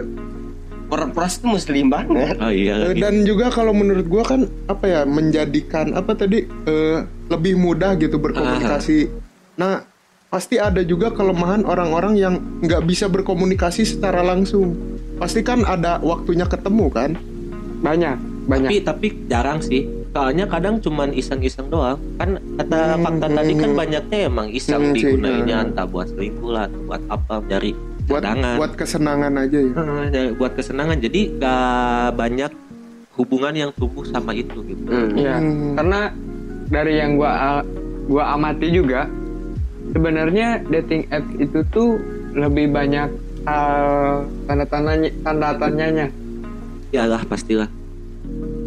Pr- pras tuh muslim banget oh iya Eh, gitu. dan juga kalau menurut gua kan apa ya menjadikan apa tadi eh, lebih mudah gitu berkomunikasi. Nah pasti ada juga kelemahan orang-orang yang nggak bisa berkomunikasi secara langsung. Pasti kan ada waktunya ketemu kan. Banyak, banyak. tapi tapi jarang sih soalnya kadang cuman iseng-iseng doang kan kata Hmm, fakta tadi kan hmm. banyaknya emang iseng Hmm, sih, digunainnya hmm. entah buat selingkuh lah atau buat apa nyari Buat cadangan. buat kesenangan aja ya. Heeh, ya, buat kesenangan jadi gak banyak hubungan yang tumbuh sama itu gitu Hmm. Iya. Hmm. Karena dari yang gue gua amati juga, sebenarnya dating app itu tuh lebih banyak hal tanda tandanya tanda tanyanya. ya lah pastilah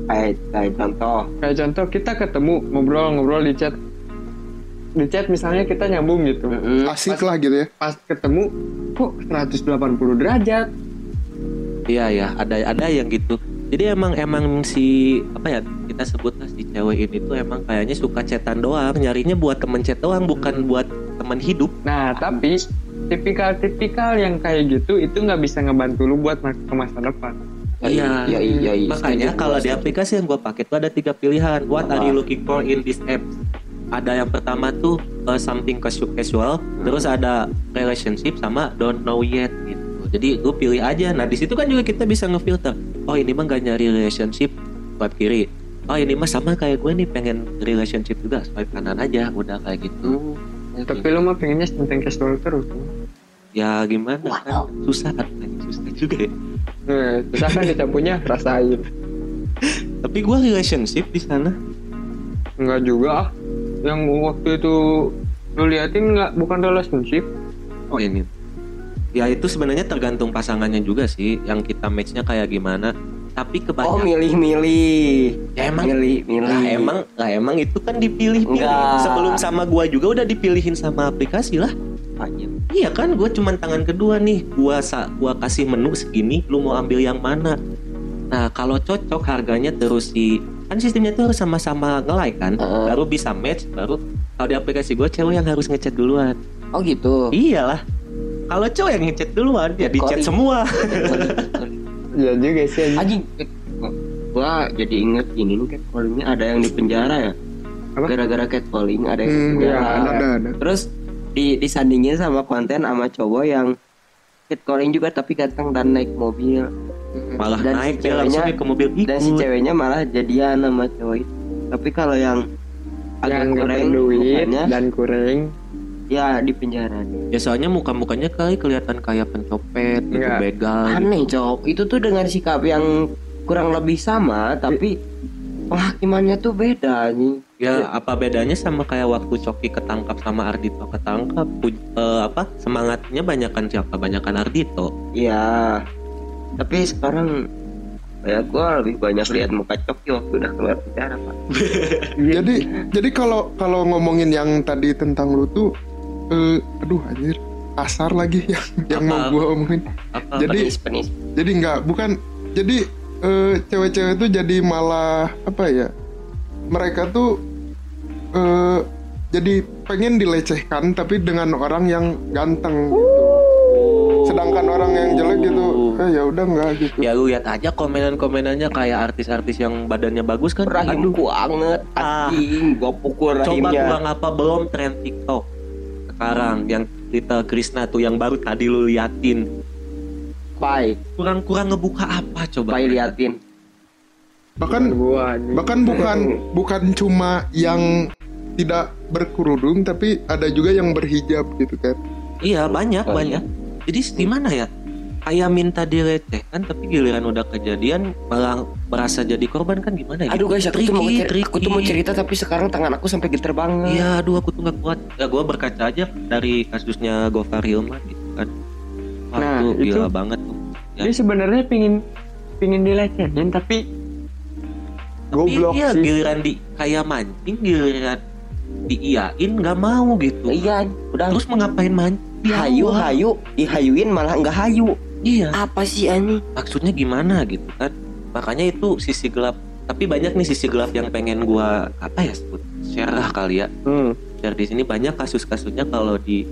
kayak kayak contoh Kayak contoh kita ketemu ngobrol-ngobrol di chat, di chat misalnya kita nyambung gitu. Mm-mm. Asik lah gitu ya. Pas ketemu kok 180 derajat. iya ya ada ada yang gitu jadi emang emang si apa ya kita sebutlah si cewek ini tuh emang kayaknya suka cetan doang nyarinya buat temen chat doang bukan buat temen hidup Nah, tapi tipikal-tipikal yang kayak gitu itu nggak bisa ngebantu lu buat ma- ke masa depan. Iya. iya iya iya Makanya Setuju kalau gua. di aplikasi yang gue pakai tuh ada tiga pilihan. What are Apa? you looking for in this app? Ada yang pertama tuh uh, something casu- casual, Hmm. terus ada relationship sama don't know yet gitu. Jadi gue pilih aja. Nah di situ kan juga kita bisa ngefilter. Oh ini mah gak nyari relationship, swipe kiri. Oh ini mah sama kayak gue nih pengen relationship juga, swipe kanan aja. Udah kayak gitu. Oh, Tapi lu mah pengennya something casual terus. Ya gimana? Kan? Susah kan? Susah juga. ya. Nah, susah kan dicampurnya rasain. Tapi gue relationship di sana. Enggak juga ah. Yang waktu itu lu liatin nggak bukan relationship. Oh ini. Ya itu sebenarnya tergantung pasangannya juga sih yang kita matchnya kayak gimana. Tapi oh kebanyakan milih-milih ya emang milih-milih lah emang lah emang itu kan dipilih-pilih. Enggak. Sebelum sama gua juga udah dipilihin sama aplikasi lah. Iya kan gua cuman tangan kedua nih. Gua sa gua kasih menu segini, lu mau ambil yang mana? Nah, kalau cocok harganya terus di kan sistemnya tuh harus sama-sama nge-like kan, Heeh. baru bisa match, baru kalau di aplikasi gua cewek yang harus ngechat duluan. oh gitu Iyalah. Kalau cowok yang ngechat duluan ya dicat Kori. semua. Ya juga sih. anjing. Anjing, gua jadi inget ini nih catcallingnya ada yang di penjara ya. Apa? Gara-gara catcalling ada yang di Hmm, Iya. penjara. ada ada. ada. Terus di, disandingin sama konten sama cowok yang catcalling juga tapi ganteng dan naik mobil Malah Dan naik si dia langsung ceweknya- ke mobil dan si ikut. ceweknya malah jadian sama cowok itu. Tapi kalau yang Yang agak Nah. nggak kurang berduit mukanya, dan kuring. ya di penjara. Ya soalnya muka-mukanya kali kelihatan kayak pencopet, Iya. gitu Enggak. begal. Kan Aneh cowok, itu tuh dengan sikap yang kurang lebih sama tapi penghakimannya tuh beda nih. Ya apa bedanya sama kayak waktu Coki ketangkap sama Ardito ketangkap? Pu- eh, apa semangatnya banyakan siapa? Banyakan Ardito. Iya. Tapi sekarang ya gua lebih banyak lihat muka coki waktu udah keluar penjara pak. Jadi jadi kalau kalau ngomongin yang tadi tentang lu tuh eh, aduh anjir kasar lagi yang yang mau Apa? gua omongin. Apa Jadi- Penis penis. jadi nggak bukan jadi eh, cewek-cewek tuh jadi malah apa ya mereka tuh eh, Oh. jadi pengen dilecehkan tapi dengan orang yang ganteng gitu. sedangkan orang yang jelek gitu eh, ya udah nggak gitu ya lu lihat aja komenan-komenannya kayak artis-artis yang badannya bagus kan rahim Aduh, banget Ah. anjing gua pukul coba rahimnya kurang apa belum tren TikTok sekarang yang Little Krishna tuh yang baru tadi lu liatin pai kurang-kurang ngebuka apa coba pai liatin bahkan gua anjing. bahkan bukan bukan cuma yang tidak berkerudung tapi ada juga yang berhijab gitu kan Iya banyak Sekali. banyak. Jadi gimana ya? Kayak minta dilecehkan tapi giliran udah kejadian malah merasa jadi korban kan gimana ya? aduh guys aku tuh mau Tricky, cerita aku tuh mau tricky. cerita tapi sekarang tangan aku sampai geter banget Iya, aduh aku tuh nggak kuat. Ya gue berkaca aja dari kasusnya Gofar Hilman gitu kan. Wah, Nah, itu gila itu- banget tuh. Ya. dia sebenarnya pingin pingin dilecehin tapi Tapi goblok iya, sih giliran di kayak mancing, giliran diiyain nggak mau gitu. iya udah Terus mau ngapain mancing? Ya hayu Allah. hayu dihayuin malah nggak hayu Iya. apa sih ani maksudnya gimana gitu kan makanya itu sisi gelap tapi banyak nih sisi gelap yang pengen gua apa ya sebut share lah kali ya Hmm. share di sini banyak kasus-kasusnya kalau di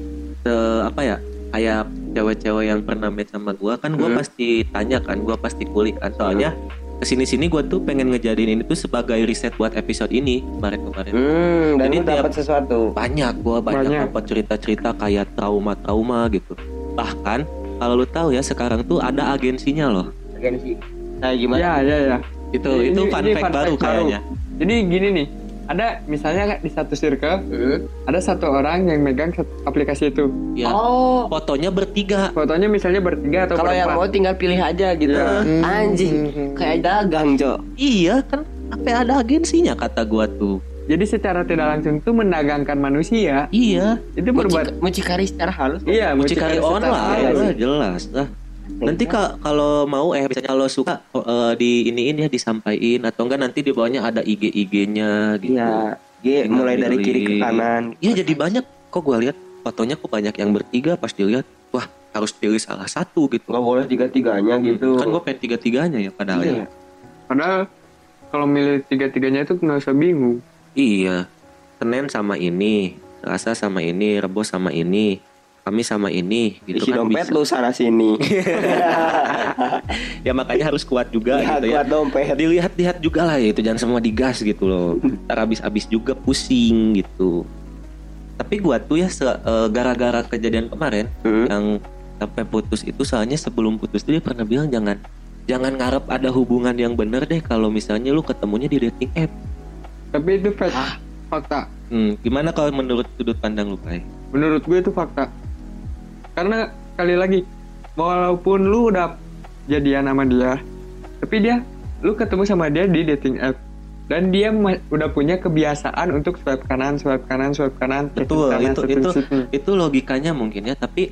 eh, apa ya kayak cewek-cewek yang pernah match sama gua kan gua Hmm. Iya. pasti tanya kan gua pasti kulik kan soalnya kesini-sini gua tuh pengen ngejadiin ini tuh sebagai riset buat episode ini kemarin-kemarin hmm dan Jadi lu tiap- dapat sesuatu banyak gua Banyak. banyak dapat cerita-cerita kayak trauma-trauma gitu bahkan kalau lu tahu ya sekarang tuh ada agensinya loh Agen sih saya gimana ya ya ya itu Ini- Gitu. itu ini- fun ini fact fun baru fact baru. kayaknya jadi gini nih ada misalnya di satu circle Hmm. ada satu orang yang megang satu aplikasi itu ya oh fotonya bertiga fotonya misalnya bertiga atau kalau yang berempat mau tinggal pilih aja gitu Iya. anjing kayak dagang cok iya kan apa ada agensinya kata gua tuh jadi secara tidak langsung tuh mendagangkan manusia iya itu berbuat Mucik- mucikari secara halus iya mucikari mucikari secara online lah ya, halus. jelas lah nanti ka- kalau mau eh misalnya kalau suka eh, di iniin ya disampaikan atau enggak nanti di bawahnya ada IG IG-nya gitu Iya, G Tinggal mulai dari kiri ke pilih. kanan. Iya jadi banyak kok gua lihat fotonya kok banyak yang bertiga pas dilihat wah harus pilih salah satu gitu Gak boleh tiga-tiganya gitu. kan gua pengen tiga-tiganya ya padahal Iya. ya padahal kalau milih tiga-tiganya itu nggak usah bingung Iya. Senin sama ini, Selasa sama ini, Rebo sama ini, Kamis sama ini, gitu Isi kan dompet bisa. Iya, lu sana sini. Ya makanya harus kuat juga ya, gitu ya. kuat dompet. Dilihat-lihat juga lah ya itu jangan semua digas gitu loh. Ntar habis-habis juga pusing gitu. Tapi gua tuh ya se- eh, gara-gara kejadian kemarin Hmm. yang sampai putus itu soalnya sebelum putus tuh dia pernah bilang jangan jangan ngarep ada hubungan yang bener deh kalau misalnya lu ketemunya di dating app. tapi itu fact fakta Hmm, gimana kalau menurut sudut pandang lu, Pak? menurut gue itu fakta karena sekali lagi walaupun lu udah jadian sama dia tapi dia lu ketemu sama dia di dating app dan dia ma- udah punya kebiasaan untuk swipe kanan swipe kanan swipe kanan chatting Betul, sana, itu- chatting itu- sini. itu logikanya mungkin ya tapi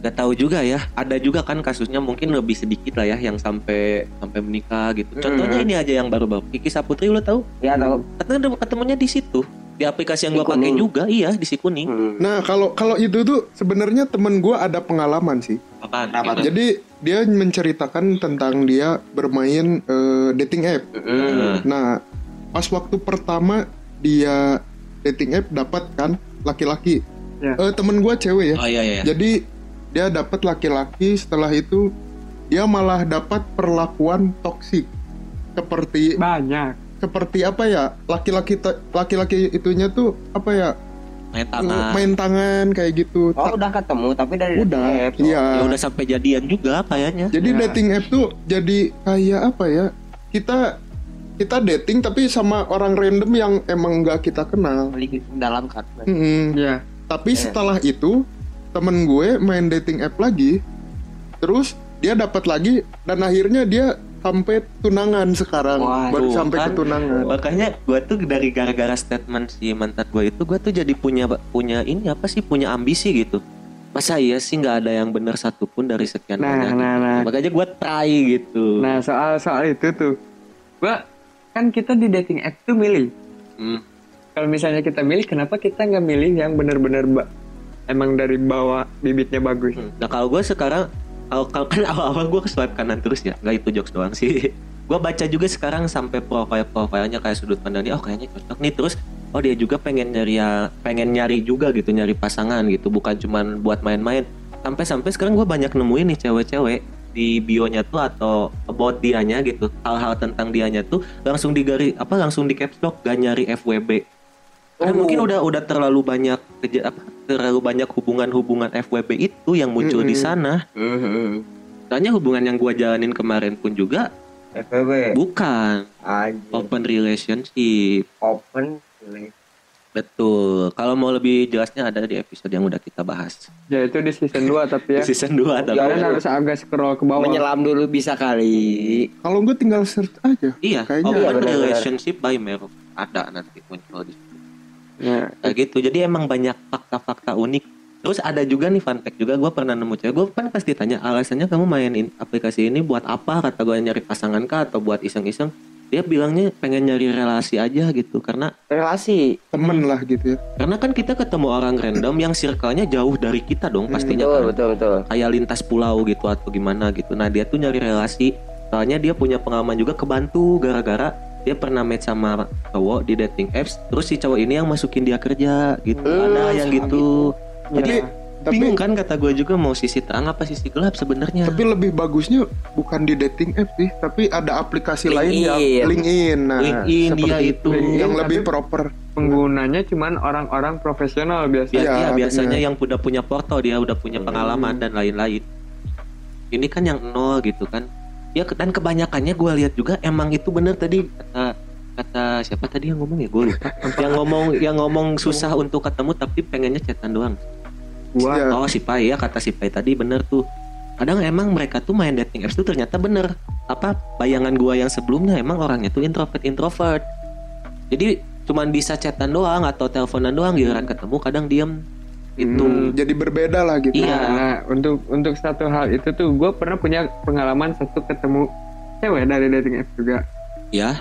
nggak tahu juga ya ada juga kan kasusnya mungkin lebih sedikit lah ya yang sampai sampai menikah gitu contohnya ini aja yang baru-baru Kiki Saputri lo tahu Ya tahu. katanya dia ketemunya di situ di aplikasi Di yang gua pakai Kuning. juga iya di si kuning Hmm. nah kalau kalau itu tuh sebenarnya temen gue ada pengalaman sih apaan Nah. Kenapa Gimana? Jadi dia menceritakan tentang dia bermain eh, dating app. Heeh. Nah, pas waktu pertama dia dating app dapat kan laki-laki. Ya. Eh, temen gue cewek ya. oh iya iya iya. Jadi dia dapat laki-laki. Setelah itu dia malah dapat perlakuan toksik seperti banyak seperti apa ya laki-laki ta- laki-laki itunya tuh apa ya main tangan main tangan kayak gitu Oh Ta- udah ketemu tapi dari udah apps. iya ya udah sampai jadian juga ya, kayaknya Jadi dating app tuh jadi kayak apa ya? Kita kita dating tapi sama orang random yang emang nggak kita kenal. Oh, Beli dalam kan. kartu. Mm-mm. Iya. ya Tapi setelah itu temen gue main dating app lagi, terus dia dapat lagi dan akhirnya dia sampai tunangan sekarang Waduh, baru sampai kan. ke tunangan. makanya gua tuh dari gara-gara statement si mantan gua itu gua tuh jadi punya punya ini apa sih punya ambisi gitu masa iya sih nggak ada yang bener satupun dari sekian nah banyak nah nah makanya gua try gitu nah soal soal itu tuh gua kan kita di dating app tuh milih Hmm. kalau misalnya kita milih kenapa kita nggak milih yang bener-bener ba- emang dari bawah bibitnya bagus nah kalau gua sekarang kalau kalau- kan awal-awal gua ke swipe kanan terus ya nggak itu jokes doang sih gua baca juga sekarang sampai profil profilnya kayak sudut pandang dia oh kayaknya cocok nih terus oh dia juga pengen nyari ya pengen nyari juga gitu nyari pasangan gitu bukan cuman buat main-main sampai-sampai sekarang gue banyak nemuin nih cewek-cewek di bionya tuh atau about dianya gitu hal-hal tentang dianya tuh langsung digari apa langsung di caps lock gak nyari FWB Karena Kan mungkin udah udah terlalu banyak keja- apa, terlalu banyak hubungan-hubungan FWB itu yang muncul di Mm-mm. sana Mm-hmm. Soalnya hubungan yang gua jalanin kemarin pun juga FWB bukan anjing open relationship. open relation. Betul. Kalau mau lebih jelasnya ada di episode yang udah kita bahas. ya itu di season 2 tapi ya Di Season 2 tapi. kalian harus agak scroll ke bawah menyelam dulu bisa kali Kalau gue tinggal search aja. Iya, Kayaknya. Iya, open benar-benar. relationship by Merov ada nanti muncul di situ. Ya. Iya. Kayak gitu. Jadi emang banyak fakta-fakta unik. Terus ada juga nih fun fact juga gua pernah nemu cewek. Gua kan pasti tanya alasannya kamu mainin aplikasi ini buat apa? Kata gua nyari pasangan kah atau buat iseng-iseng? Dia bilangnya pengen nyari relasi aja gitu karena relasi Temen lah gitu ya. Karena kan kita ketemu orang random yang circle-nya jauh dari kita dong pastinya betul kan. betul betul Kayak lintas pulau gitu atau gimana gitu. Nah dia tuh nyari relasi. Soalnya dia punya pengalaman juga kebantu gara-gara dia pernah match sama cowok di dating apps. Terus si cowok ini yang masukin dia kerja gitu. Hmm, Ada yang gitu. Jadi Tapi tapi bingung kan kata gue juga mau sisi terang apa sisi gelap sebenarnya. tapi lebih bagusnya bukan di dating app sih, tapi ada aplikasi lain LinkedIn. yang LinkedIn. Nah, LinkedIn seperti dia itu. yang LinkedIn, lebih tapi- proper. penggunanya cuman orang-orang profesional biasa Biar- Iya, iya, biasanya bener. yang udah punya porto dia udah punya pengalaman dan lain-lain. Ini kan yang nol gitu kan. Ya ke- dan kebanyakannya gue lihat juga emang itu bener tadi kata kata siapa tadi yang ngomong ya gue lupa. yang ngomong yang ngomong susah untuk ketemu tapi pengennya chatan doang. gua Iya. Oh si Pai ya kata si Pai tadi bener tuh. Kadang emang mereka tuh main dating apps tuh ternyata bener apa bayangan gua yang sebelumnya emang orangnya tuh introvert introvert. Jadi cuman bisa chatan doang atau teleponan doang giliran ketemu kadang diem itu Hmm, jadi berbeda lah gitu. Iya. Nah, untuk untuk satu hal itu tuh gue pernah punya pengalaman satu ketemu cewek dari dating apps juga. ya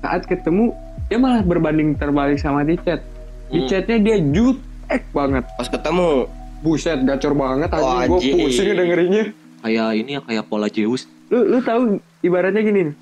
Saat ketemu dia malah berbanding terbalik sama di chat. Di Hmm. chatnya dia jutek banget. Pas ketemu Buset, gacor banget anjing gue Wajib. pusing dengerinnya. kayak ini ya kayak pola Zeus Lu lu tahu ibaratnya gini nih.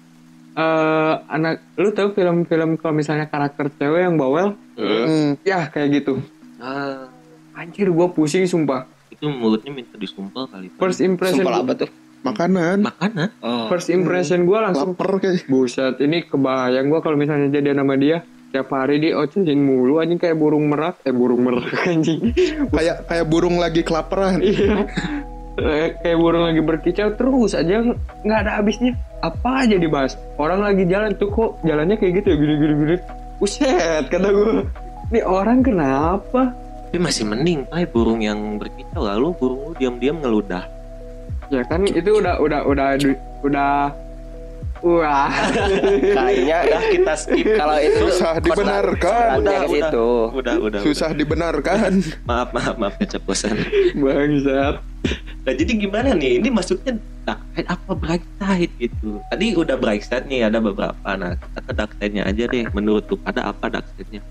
Eh, anak lu tahu film-film kalau misalnya karakter cewek yang bawel? Hmm. Ya kayak gitu. ah Anjir gue pusing sumpah. itu mulutnya minta disumpel kali ah? Pak. First impression sumpah apa tuh? Makanan makanan first impression gue langsung lapar kayak Buset, ini kebayang gua kalau misalnya jadi nama dia Tiap hari dia ocehin mulu anjing kayak burung merak Eh burung merak anjing kayak kayak burung lagi kelaparan. Iya Eh, Kayak burung lagi berkicau terus aja ng- nggak ada habisnya Apa aja dibahas Orang lagi jalan tuh kok jalannya kayak gitu ya gini gini gini Buset kata gua Ini orang kenapa tapi masih mending Pai burung yang berkicau lalu burung lu diam-diam ngeludah Ya kan itu udah udah udah du- udah Wah kayaknya udah kita skip kalau itu Susah kos- dibenarkan. kosnya ke Udah, gitu. udah. situ udah udah Susah dibenarkan. udah. maaf maaf maaf keceplosan Bangsat Nah jadi gimana nih? Ini masuknya dark side apa bright side gitu? Tadi udah bright side nih ada beberapa. Nah kita ke dark side-nya aja deh. Menurut lu ada apa dark side-nya?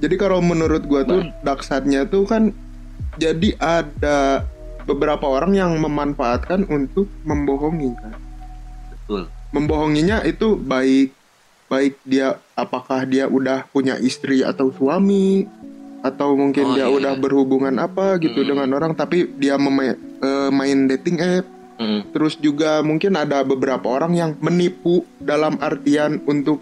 Jadi kalau menurut gua tuh daksatnya tuh kan jadi ada beberapa orang yang memanfaatkan untuk membohongi kan. Betul. Membohonginya itu baik baik dia apakah dia udah punya istri atau suami atau mungkin Oh, dia iya, udah iya. berhubungan apa gitu Hmm. dengan orang tapi dia mema- eh, main dating app Hmm. Terus juga mungkin ada beberapa orang yang menipu dalam artian untuk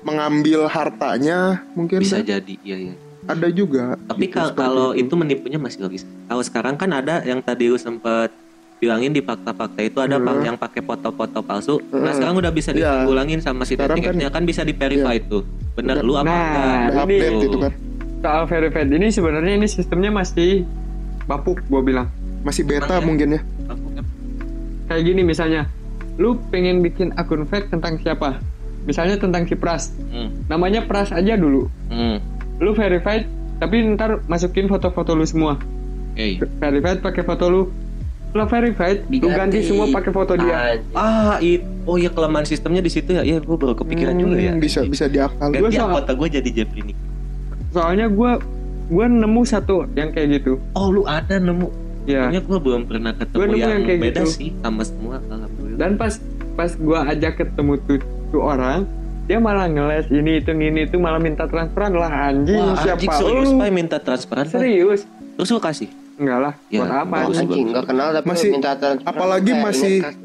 mengambil hartanya, mungkin Bisa kan? jadi iya ya. ada juga. Tapi Gitu, kal- seperti kalau itu menipunya masih logis. Kalau sekarang kan ada yang tadi lu sempet bilangin di fakta-fakta itu ada Hmm. pak yang pakai foto-foto palsu. Nah Hmm. sekarang udah bisa Iya. ditanggulangin sama si Sekarang dating kan- iya. app-nya kan bisa di verify tuh. Bener lu apa Nah, Ada ini- update gitu kan, Soal verified ini sebenarnya ini sistemnya masih bapuk gua bilang masih beta Makanya. mungkin ya. kayak gini misalnya lu pengen bikin akun fake tentang siapa misalnya tentang si Pras Hmm. namanya Pras aja dulu Hmm. lu verified tapi ntar masukin foto-foto lu semua Oke. verified pakai foto lu lu verified lu ganti semua pakai foto dia Anjing. Ah, it. oh ya kelemahan sistemnya di situ ya. Iya, gue baru kepikiran Hmm, juga ya. Bisa bisa diakal. Gua Ganti sama- anggota gue jadi Jeffrey Nick. soalnya gua gua nemu satu yang kayak gitu Oh, lu ada nemu. ya Kayaknya gue belum pernah ketemu Gua nemu yang, yang kayak beda gitu. sih sama semua alhamdulillah. dan pas pas gua ajak ketemu tuh, tuh orang dia malah ngeles ini itu ini itu malah minta transferan lah anjing Wah, siapa anjing serius lu Pai minta transparan Pai. serius Terus lu kasih. enggak lah Ya, buat apa bagus, sih? bagus. anjing nggak kenal tapi Masih- minta Eh, transfer apalagi Kayaknya masih- kas-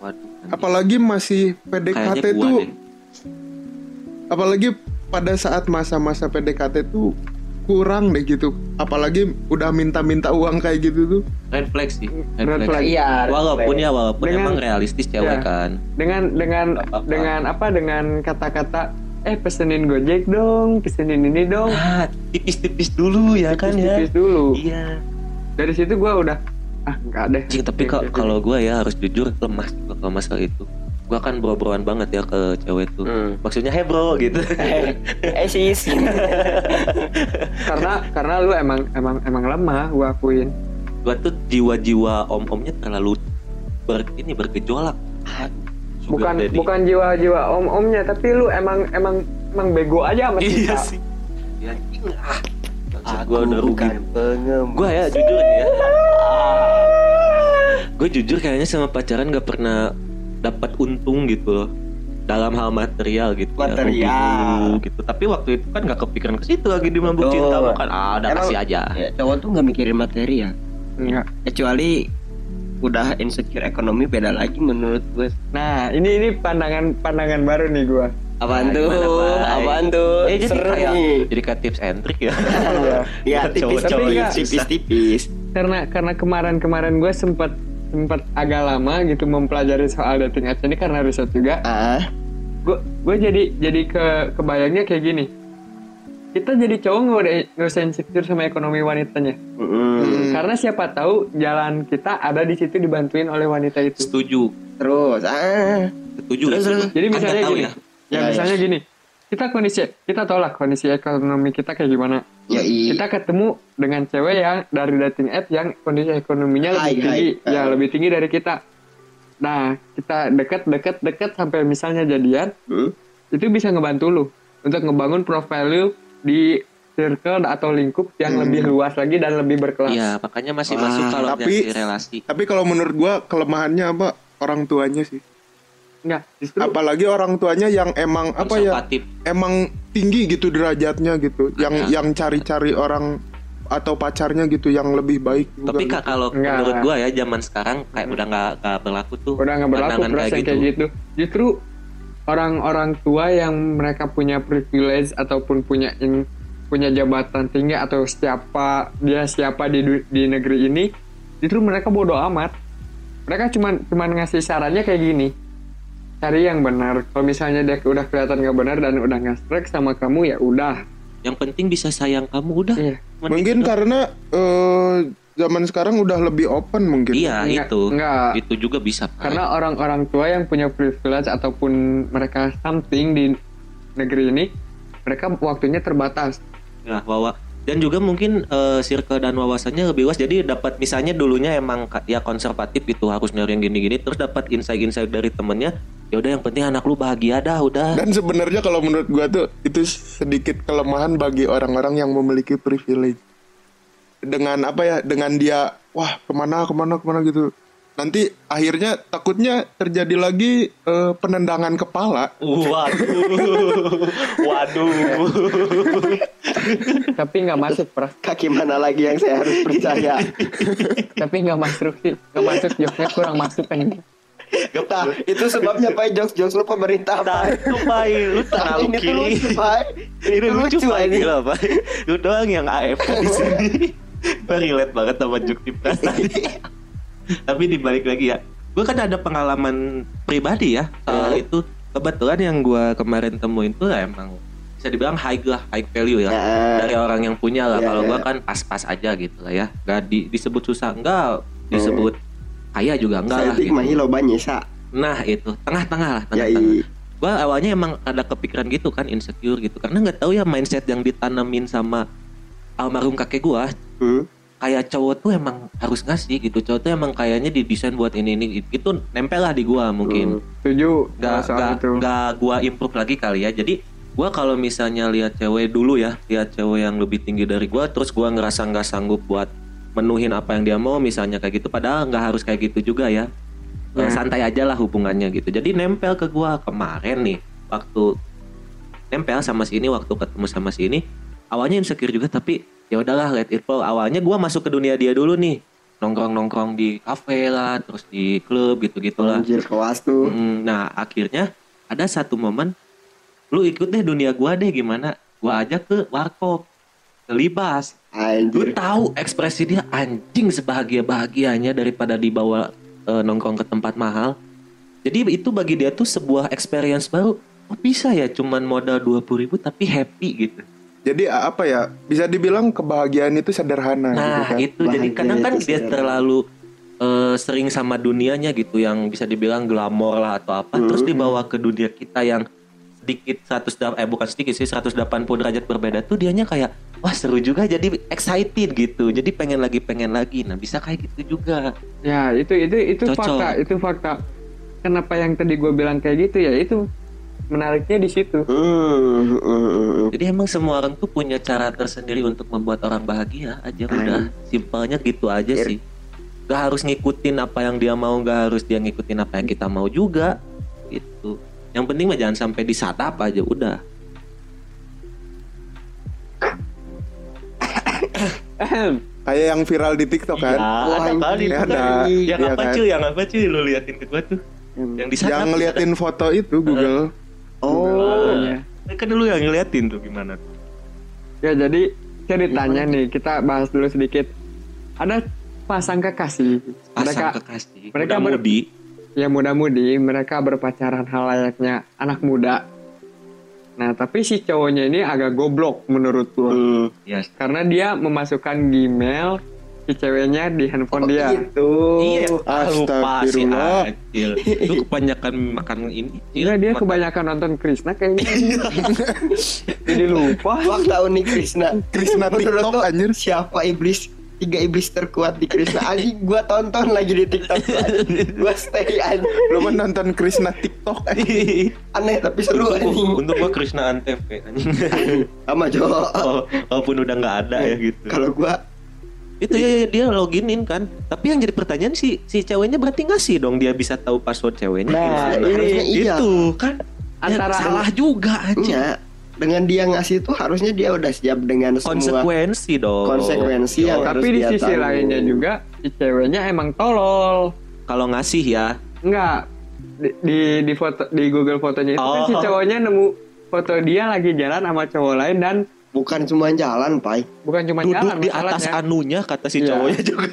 Waduh, nanti apalagi masih kayaknya PDKT gua tuh deh. apalagi pada saat masa-masa PDKT tuh kurang deh gitu apalagi udah minta-minta uang kayak gitu tuh red flag sih red, Red flag. flag. iya walaupun ya walaupun Dengan- emang realistis Ya. cewek kan dengan dengan Nggak apa-apa. dengan apa dengan kata-kata eh pesenin gojek dong pesenin ini dong nah tipis-tipis dulu ya kan ya tipis Oh. dulu iya dari situ gue udah ah enggak deh Gitu, Cing, tapi Oke, kok oke, oke. kalau gue ya harus jujur lemas gua kalau masalah itu gue kan bro-broan banget ya ke cewek tuh Hmm. maksudnya hey bro gitu eh sis karena karena lu emang emang emang lemah gue akuin gue tuh jiwa-jiwa om-omnya terlalu ber, ini bergejolak Aduh, sugar bukan daddy. bukan jiwa-jiwa om-omnya tapi lu emang emang emang bego aja sama iya cinta sih ya, cing, ah. kan. Bangsat, aku gua udah rugi bukan pengemuk gue ya jujur nih ya gue jujur kayaknya sama pacaran gak pernah dapat untung gitu loh dalam hal material gitu ya, rugi Material. dulu gitu tapi waktu itu kan gak kepikiran ke situ lagi di mabuk Betul. cinta bukan ah udah Emang- kasih aja Ya, cowok tuh nggak mikirin materi ya Enggak. kecuali udah insecure ekonomi beda lagi menurut gue nah ini ini pandangan pandangan baru nih gue apaan Nah, tuh gimana, Bay? apaan tuh eh jadi Seru kayak nih. jadi kayak tips and trick ya ya tipis Cowok-cowok yang tipis susah. tipis tipis karena karena kemarin-kemarin gue sempat sempat agak lama gitu mempelajari soal dating apps ini karena riset juga ah gue gue jadi jadi ke kebayangnya kayak gini kita jadi cowok nggak udah nggak usah insecure sama ekonomi wanitanya Hmm. karena siapa tahu jalan kita ada di situ dibantuin oleh wanita itu setuju terus ah setuju Terus, gitu. terus. jadi Anda misalnya tahu gini ya? ya, Ya, ya. misalnya gini kita kondisi kita tolak kondisi ekonomi kita kayak gimana ya i kita ketemu dengan cewek yang dari dating app yang kondisi ekonominya lebih Hai, tinggi hai. ya Eh. lebih tinggi dari kita nah kita deket deket deket sampai misalnya jadian Hmm. itu bisa ngebantu lu untuk ngebangun profil lu di circle atau lingkup yang lebih Hmm. luas lagi dan lebih berkelas iya makanya masih Ah. masuk kalau tapi- nyari relasi tapi kalau menurut gua kelemahannya apa orang tuanya sih Nggak, justru apalagi orang tuanya yang emang apa ya Konservatif. emang tinggi gitu derajatnya gitu yang Ada. yang cari-cari orang atau pacarnya gitu yang lebih baik juga tapi gitu. Hmm. kak kalau Enggak. menurut gue ya zaman sekarang kayak udah nggak nggak berlaku tuh udah nggak berlaku pandangan beras yang kayak gitu justru orang-orang tua yang mereka punya privilege ataupun punya in- punya jabatan tinggi atau siapa dia siapa di du- di negeri ini justru mereka bodoh amat mereka cuman cuman ngasih sarannya kayak gini cari yang benar kalau misalnya dia udah kelihatan nggak benar dan udah nggak strike sama kamu ya udah yang penting bisa sayang kamu udah iya Cuman itu mungkin doang. karena eh, zaman sekarang udah lebih open mungkin iya Nggak- itu nggak. itu juga bisa karena orang-orang tua yang punya privilege ataupun mereka something di negeri ini mereka waktunya terbatas Nah, wawa dan juga mungkin eh, circle dan wawasannya lebih luas jadi dapat misalnya dulunya emang ka- ya konservatif gitu harus nyari yang gini-gini terus dapat insight-insight dari temennya ya udah yang penting anak lu bahagia dah udah dan sebenarnya kalau menurut gua tuh itu sedikit kelemahan bagi orang-orang yang memiliki privilege dengan apa ya dengan dia wah kemana kemana kemana gitu nanti akhirnya takutnya terjadi lagi eh, penendangan kepala waduh waduh tapi nggak masuk pras kaki mana lagi yang saya harus percaya tapi nggak masuk sih nggak masuk joknya kurang masuk kan Nah, itu sebabnya Pak jokes jokes lu pemerintah Nah, Pak. itu pai lu terlalu Ini tuh kiri lucu, Pak. ini Lucu, lucu pai ini. gila pai lu doang yang AFK di sini Gua relate banget sama Jukti Pras tadi tapi dibalik lagi ya gue kan ada pengalaman pribadi ya soal Iya. itu kebetulan yang gua kemarin temuin tuh ya emang bisa dibilang high lah high value ya Nah, Ya. dari orang yang punya lah Ya, kalau ya. gua kan pas-pas aja gitu lah ya gak di- disebut susah enggak disebut kaya juga enggak Oh. Saya lah tik gitu. mahi loba nyisa. nah itu tengah-tengah lah Ya tengah-tengah i. gue awalnya emang ada kepikiran gitu kan insecure gitu karena nggak tahu ya mindset yang ditanamin sama almarhum kakek gue Hmm. kayak cowok tuh emang harus ngasih gitu cowok tuh emang kayaknya didesain buat ini ini gitu nempel lah di gue mungkin setuju nggak nggak soal nggak Nah, itu nggak gua improve lagi kali ya jadi gua kalau misalnya lihat cewek dulu ya lihat cewek yang lebih tinggi dari gua terus gua ngerasa nggak sanggup buat menuhin apa yang dia mau misalnya kayak gitu padahal nggak harus kayak gitu juga ya Eh, Ya. santai aja lah hubungannya gitu jadi nempel ke gua kemarin nih waktu nempel sama si ini waktu ketemu sama si ini awalnya insecure juga tapi ya udahlah let it flow awalnya gua masuk ke dunia dia dulu nih nongkrong nongkrong di kafe lah terus di klub gitu gitulah Anjir kelas tuh. Mm, nah akhirnya ada satu momen lu ikut deh dunia gua deh gimana gua ajak ke warkop ke libas lu Anjir. tahu ekspresi dia anjing sebahagia bahagianya daripada dibawa eh, nongkrong ke tempat mahal jadi itu bagi dia tuh sebuah experience baru oh, bisa ya cuman modal dua ribu tapi happy gitu Jadi a- apa ya? Bisa dibilang kebahagiaan itu sederhana gitu nah kan. itu jadi Bahagia kadang kan itu dia sederhana. terlalu eh, sering sama dunianya gitu yang bisa dibilang glamor lah atau apa terus dibawa ke dunia kita yang sedikit 100 da- eh bukan sedikit sih 180 derajat berbeda tuh dianya kayak wah seru juga jadi excited gitu jadi pengen lagi pengen lagi nah bisa kayak gitu juga Ya itu itu itu Cocok. fakta itu fakta. Kenapa yang tadi gue bilang kayak gitu ya itu menariknya di situ. Hmm, hmm, hmm. Jadi emang semua orang tuh punya cara tersendiri untuk membuat orang bahagia aja udah simpelnya gitu aja sih. Gak harus ngikutin apa yang dia mau, gak harus dia ngikutin apa yang kita mau juga gitu. Yang penting mah jangan sampai disatap aja udah. Kayak yang viral di TikTok kan. Iya, ada kali iya, itu ada. kan. Yang Iya apa kan? cuy, yang apa cuy lu liatin ke gua tuh. Yang disatap. Yang ngeliatin foto itu Google. Oh, Nah, Kan lu yang ngeliatin tuh gimana tuh. Ya jadi ceritanya nih kita bahas dulu sedikit. Ada pasang kekasih. mereka Pasang kekasih. mereka ber- Mereka mudi. ya muda-mudi mereka berpacaran hal layaknya anak muda. Nah tapi si cowoknya ini agak goblok menurut gue. Ya. Karena dia memasukkan Gmail si ceweknya di Oh, handphone dia. Oh, gitu. Iya, ah, lupa sih Astagfirullah. Acil. Lu kebanyakan makan ini. Cil. Iya dia Makan- kebanyakan nonton Krishna Iya. kayaknya. Jadi lupa. fakta unik Krishna. Krishna Menurut lo, TikTok, anjir. Siapa iblis? Tiga iblis terkuat di Krishna. Anjing gua tonton lagi di TikTok. tuh, anjing. Gua stay anjing. Eh. Lu mah nonton Krishna TikTok Aneh tapi seru anjing. Untuk gua Krishna Antv anjing. Sama cowok. Wala- Walaupun udah nggak ada ya gitu. Iya. Kalau gua Itu ya, ya, dia loginin kan. Tapi yang jadi pertanyaan si si ceweknya berarti ngasih dong dia bisa tahu password ceweknya. Nah, Gimana? ini- Harusnya iya. itu kan Ya, Antara- salah juga aja. punya dengan dia ngasih itu harusnya dia udah siap dengan semua Konsekuensi dong. konsekuensi yang Iya, harus Tapi di dia sisi tahu. lainnya juga si ceweknya emang tolol. Kalau ngasih ya. Enggak di, di di foto di Google fotonya itu kan si Oh. cowoknya nemu foto dia lagi jalan sama cowok lain dan bukan cuma jalan pai bukan cuma Duduk jalan di atas masalahnya. anunya kata si Iya. cowoknya juga.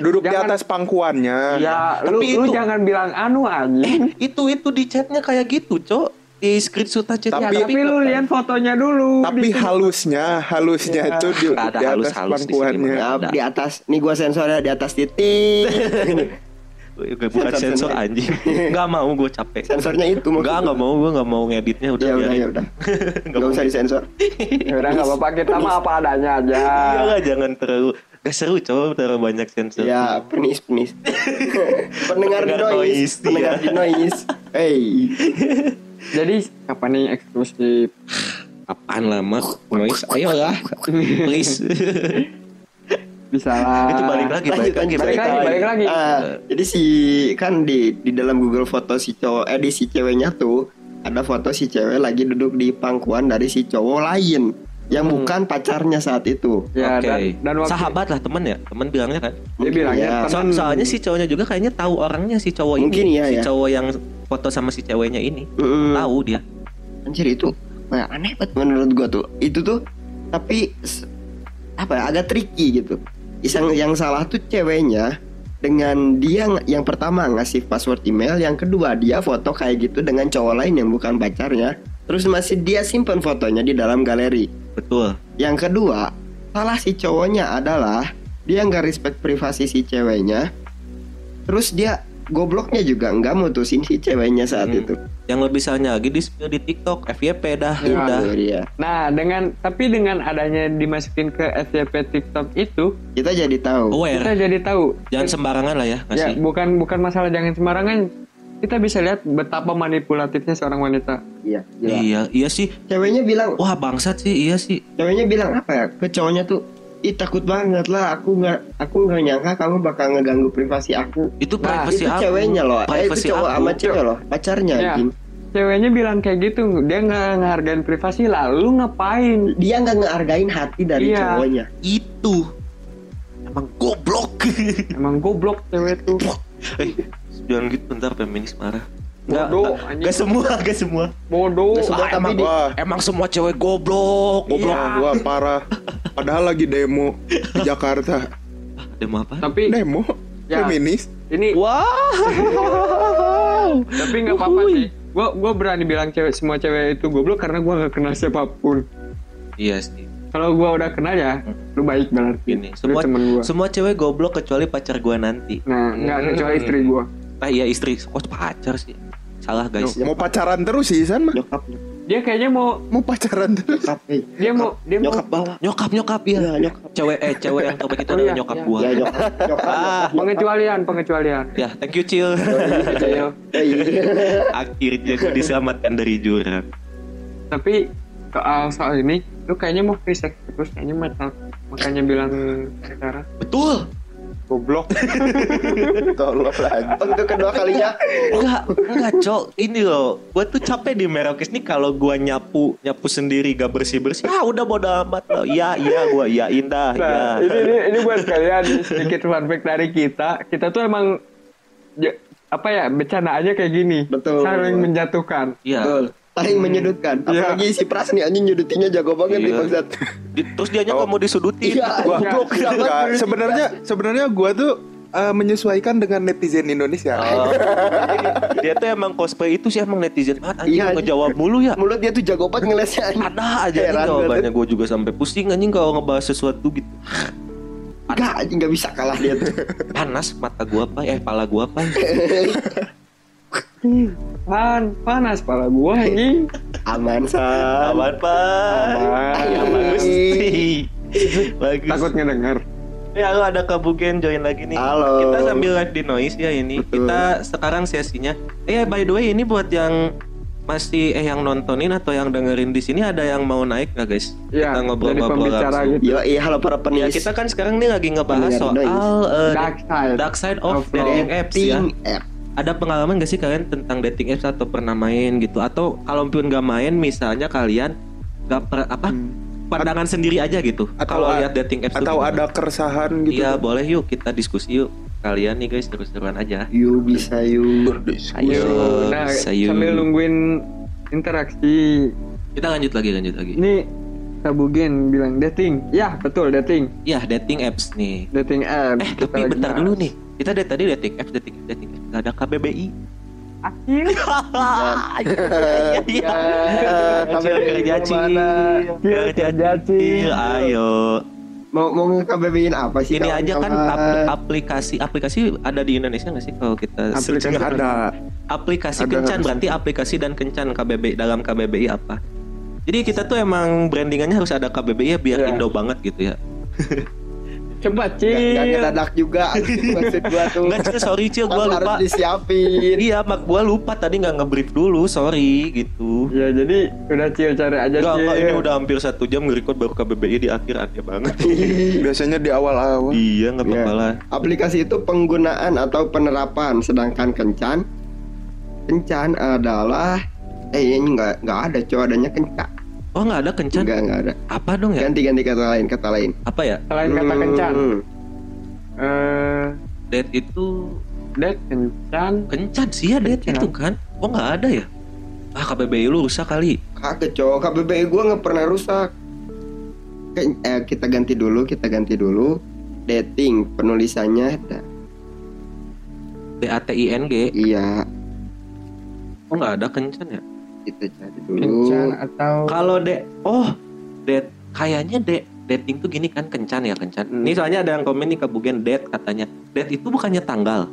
duduk di Jangan- atas pangkuannya. Ya, Tapi lu, lu itu- jangan bilang anu anjing. itu itu di chatnya kayak gitu, Cok. Di screenshot aja Ya, tapi- tapi, lu lihat fotonya dulu. Di- Tapi halusnya, halusnya itu di, Iya. Nggak ada di atas halus-halus di sini, pangkuannya. Bang. Nah, Ada. di atas nih gua sensornya di atas titik Iya, bukan sensor anjing. Nggak mau gue capek. sensornya itu Enggak, enggak mau gue enggak mau ngeditnya udah ya udah biarin. ya udah Nggak nggak mau. usah disensor Ya udah enggak apa-apa kita mah apa adanya aja. Iya lah, jangan terlalu Gak seru coba terlalu banyak sensor ya penis penis pendengar di Pendengar noise noise, pendengar iya. di noise hey Jadi kapan nih eksklusif? Apaan lah mak Noise ayo lah Please Bisa lah. Itu balik lagi Balik lagi Lanjut, lanjut, Balik Balik lagi, lagi balik lagi. Ah, jadi si kan di di dalam Google foto si cowok eh di si ceweknya tuh ada foto si cewek lagi duduk di pangkuan dari si cowok lain yang bukan pacarnya saat itu. Ya, Oke dan, dan waktu Sahabat lah temen ya Temen bilangnya kan dia bilangnya Ya. temen. So- Soalnya si cowoknya juga kayaknya tahu orangnya si cowok Mungkin ini iya, Si ya. Hmm. cowok yang foto sama si ceweknya ini Mm-mm. Tahu dia Anjir itu nah, aneh banget menurut gua tuh. Itu tuh tapi s- apa ya, agak tricky gitu. Yang yang salah tuh ceweknya dengan dia ng- yang pertama ngasih password email, yang kedua dia foto kayak gitu dengan cowok lain yang bukan pacarnya. Terus masih dia simpen fotonya di dalam galeri. Betul Yang kedua, salah si cowoknya adalah dia nggak respect privasi si ceweknya. Terus dia gobloknya juga nggak mutusin si ceweknya saat Hmm. itu. Yang lebih salahnya lagi di spill di TikTok FYP dah Itu udah dia. Nah, dengan tapi dengan adanya dimasukin ke FYP TikTok itu, Kita jadi tahu. kita Aware jadi tahu. Jangan sembarangan lah Ya, ya ngasih bukan bukan masalah jangan sembarangan. Kita bisa lihat betapa manipulatifnya seorang wanita. Iya, gila. Iya iya sih Ceweknya bilang, Wah bangsat sih iya sih ceweknya bilang apa ya ke cowoknya tuh? Ih takut banget lah, aku nggak, aku nggak nyangka kamu bakal ngeganggu privasi aku. Itu Nah, privacy itu aku. ceweknya loh, eh, itu Privacy cowok aku. sama cewek loh, pacarnya. Iya. anjing. ceweknya bilang kayak gitu dia nggak ngehargain privasi lah lu ngapain dia nggak ngehargain hati dari Iya. cowoknya itu emang goblok emang goblok cewek tuh eh jangan gitu ntar feminis marah Nggak, Bodoh, nggak- anjing. nggak semua, nggak semua. bodoh Nggak semua Ah, tapi emang, di- Wah. emang semua cewek goblok, goblok. Wah, wah, parah. Padahal lagi demo di Jakarta. Ada mau apa? tapi Demo? Ya. Iya. Feminis? ini Wow. tapi nggak apa-apa sih gua gua berani bilang cewek semua cewek itu goblok karena gua nggak kenal siapapun Iya sih. kalau gua udah kenal ya lu baik berarti lu Ini semua temen gua semua cewek goblok kecuali pacar gua nanti. nah nggak kecuali istri gua Ah iya istri, kok pacar sih? Salah guys. Mau pacaran terus sih, San mah. nyokap dia kayaknya mau Mau pacaran terus. nyokap eh. dia mau dia mau nyokap bawa Nyokap nyokap ya. Iya, nyokap. Cewek eh cewek yang terbaik itu Oh, adalah iya, nyokap iya. gua. ya nyokap Ah, pengecualian pengecualian Gitu, ya thank you Cil. Ayo. Akhirnya gue diselamatkan dari jurang. tapi soal soal ini lu kayaknya mau free sex terus kayaknya mata makanya bilang sekarang Betul. Goblok. Tolong lagi. untuk kedua kalinya Enggak, enggak, Cok. Ini loh, gue tuh capek di Merauke ini kalau gua nyapu, nyapu sendiri gak bersih-bersih. Ah, udah bodo amat loh. Iya, iya gua iya indah, iya. Nah, ini, ini ini buat kalian sedikit fun fact dari kita. Kita tuh emang ya, apa ya bercandaannya kayak gini. Betul. Saling menjatuhkan. Iya. betul paling menyudutkan Iya. apalagi si Pras nih anjing nyudutinnya jago banget Iya. nih bangsat Di- Terus dianya Oh. nggak mau disudutin. Iya, Gua iya. goblok. Iya. Enggak, sebenarnya sebenarnya gua tuh eh, menyesuaikan dengan netizen Indonesia. Oh. dia tuh emang cosplay itu sih emang netizen banget anjing Iya, anjing. ngejawab mulu ya. mulut dia tuh jago banget ngelesnya anjing Ada aja nih Heran jawabannya gue juga sampai pusing anjing kalau ngebahas sesuatu gitu. enggak anjing nggak bisa kalah dia tuh Panas mata gua apa eh pala gua apa. Pan, panas pala gua ini. aman sah Aman, Pak. Aman. Ah, iya, Bagus. Bagus. Ah, Takut ngedenger. Ya lo ada Kabugen join lagi nih. Halo. Kita sambil live di noise ya ini. Betul. Kita sekarang sesinya. Eh by the way ini buat yang masih eh yang nontonin atau yang dengerin di sini ada yang mau naik nggak guys? Iya, kita jadi ngobrol-ngobrol pembicara langsung. gitu. yo iya halo para Ya penis kita kan sekarang nih lagi ngebahas soal Pendengar noise. eh, Dark side. dark side of Of dating apps ya. Ting app Ada pengalaman gak sih kalian tentang dating apps atau pernah main gitu? Atau kalaupun nggak main, misalnya kalian nggak per- apa pandangan sendiri aja gitu? Hmm. Atau Kalau a- lihat dating apps tuh Atau gimana? ada keresahan gitu. Iya boleh yuk kita diskusi yuk kalian nih guys terus-terusan aja. you bisa you Ayo, Nah, sayu. sambil nungguin interaksi. Kita lanjut lagi lanjut lagi. Ini Kabugen bilang dating. Ya, betul dating. Ya dating apps nih. Dating app. Hmm, Eh Kita tapi lagi bentar bahas. dulu nih. Kita dari tadi dating apps dating apps dating apps nggak ada KBBI. Akhir. Iya, Eh, iya. Eh, Cil, Kerja Iya, cil, Cil, kerja, Cil. cil. Ayo. mau mau ngekabebein apa sih Ini kawan-kawan? aja kan apl- aplikasi aplikasi ada di Indonesia nggak sih kalau kita Aplikasi searching? ada. aplikasi Ada kencan harusnya. berarti aplikasi dan kencan KBB dalam KBBI apa? Jadi kita tuh emang brandingannya harus ada KBBI ya biar Iya. Indo banget gitu ya. Coba, Nggak- nggak Cil. ngedadak juga anjing, maksud gua tuh Enggak cil, sorry cil, Emang gua harus lupa. disiapin Iya, mak gua lupa tadi nggak ngebrief dulu, sorry gitu. Ya, jadi udah Cil cari aja, Enggak, Cil. enggak, ini udah hampir satu jam nge-record baru KBBI di akhir aneh banget. Biasanya di awal-awal. iya, nggak apa-apa lah. aplikasi itu penggunaan atau penerapan sedangkan kencan kencan adalah eh ini nggak nggak ada cowok adanya kencan Oh nggak ada kencan? nggak nggak ada Kan- Apa dong ya? ganti ganti kata lain kata lain Apa ya? Selain kata Hmm, kencan. eh Date itu date kencan kencan sih ya Iya, date Kencan. itu kan? Oh nggak ada ya? Ah KBBI lu rusak kali. kagak cowok KBBI gue nggak pernah rusak Ken- eh, kita ganti dulu kita ganti dulu dating penulisannya ada. D A T I N G. iya Oh nggak ada kencan ya? kita cari kencan dulu atau Kalau de oh date kayaknya de dating tuh gini kan kencan ya kencan. Hmm. Ini soalnya ada yang komen nih kebugen date katanya. Date itu bukannya tanggal.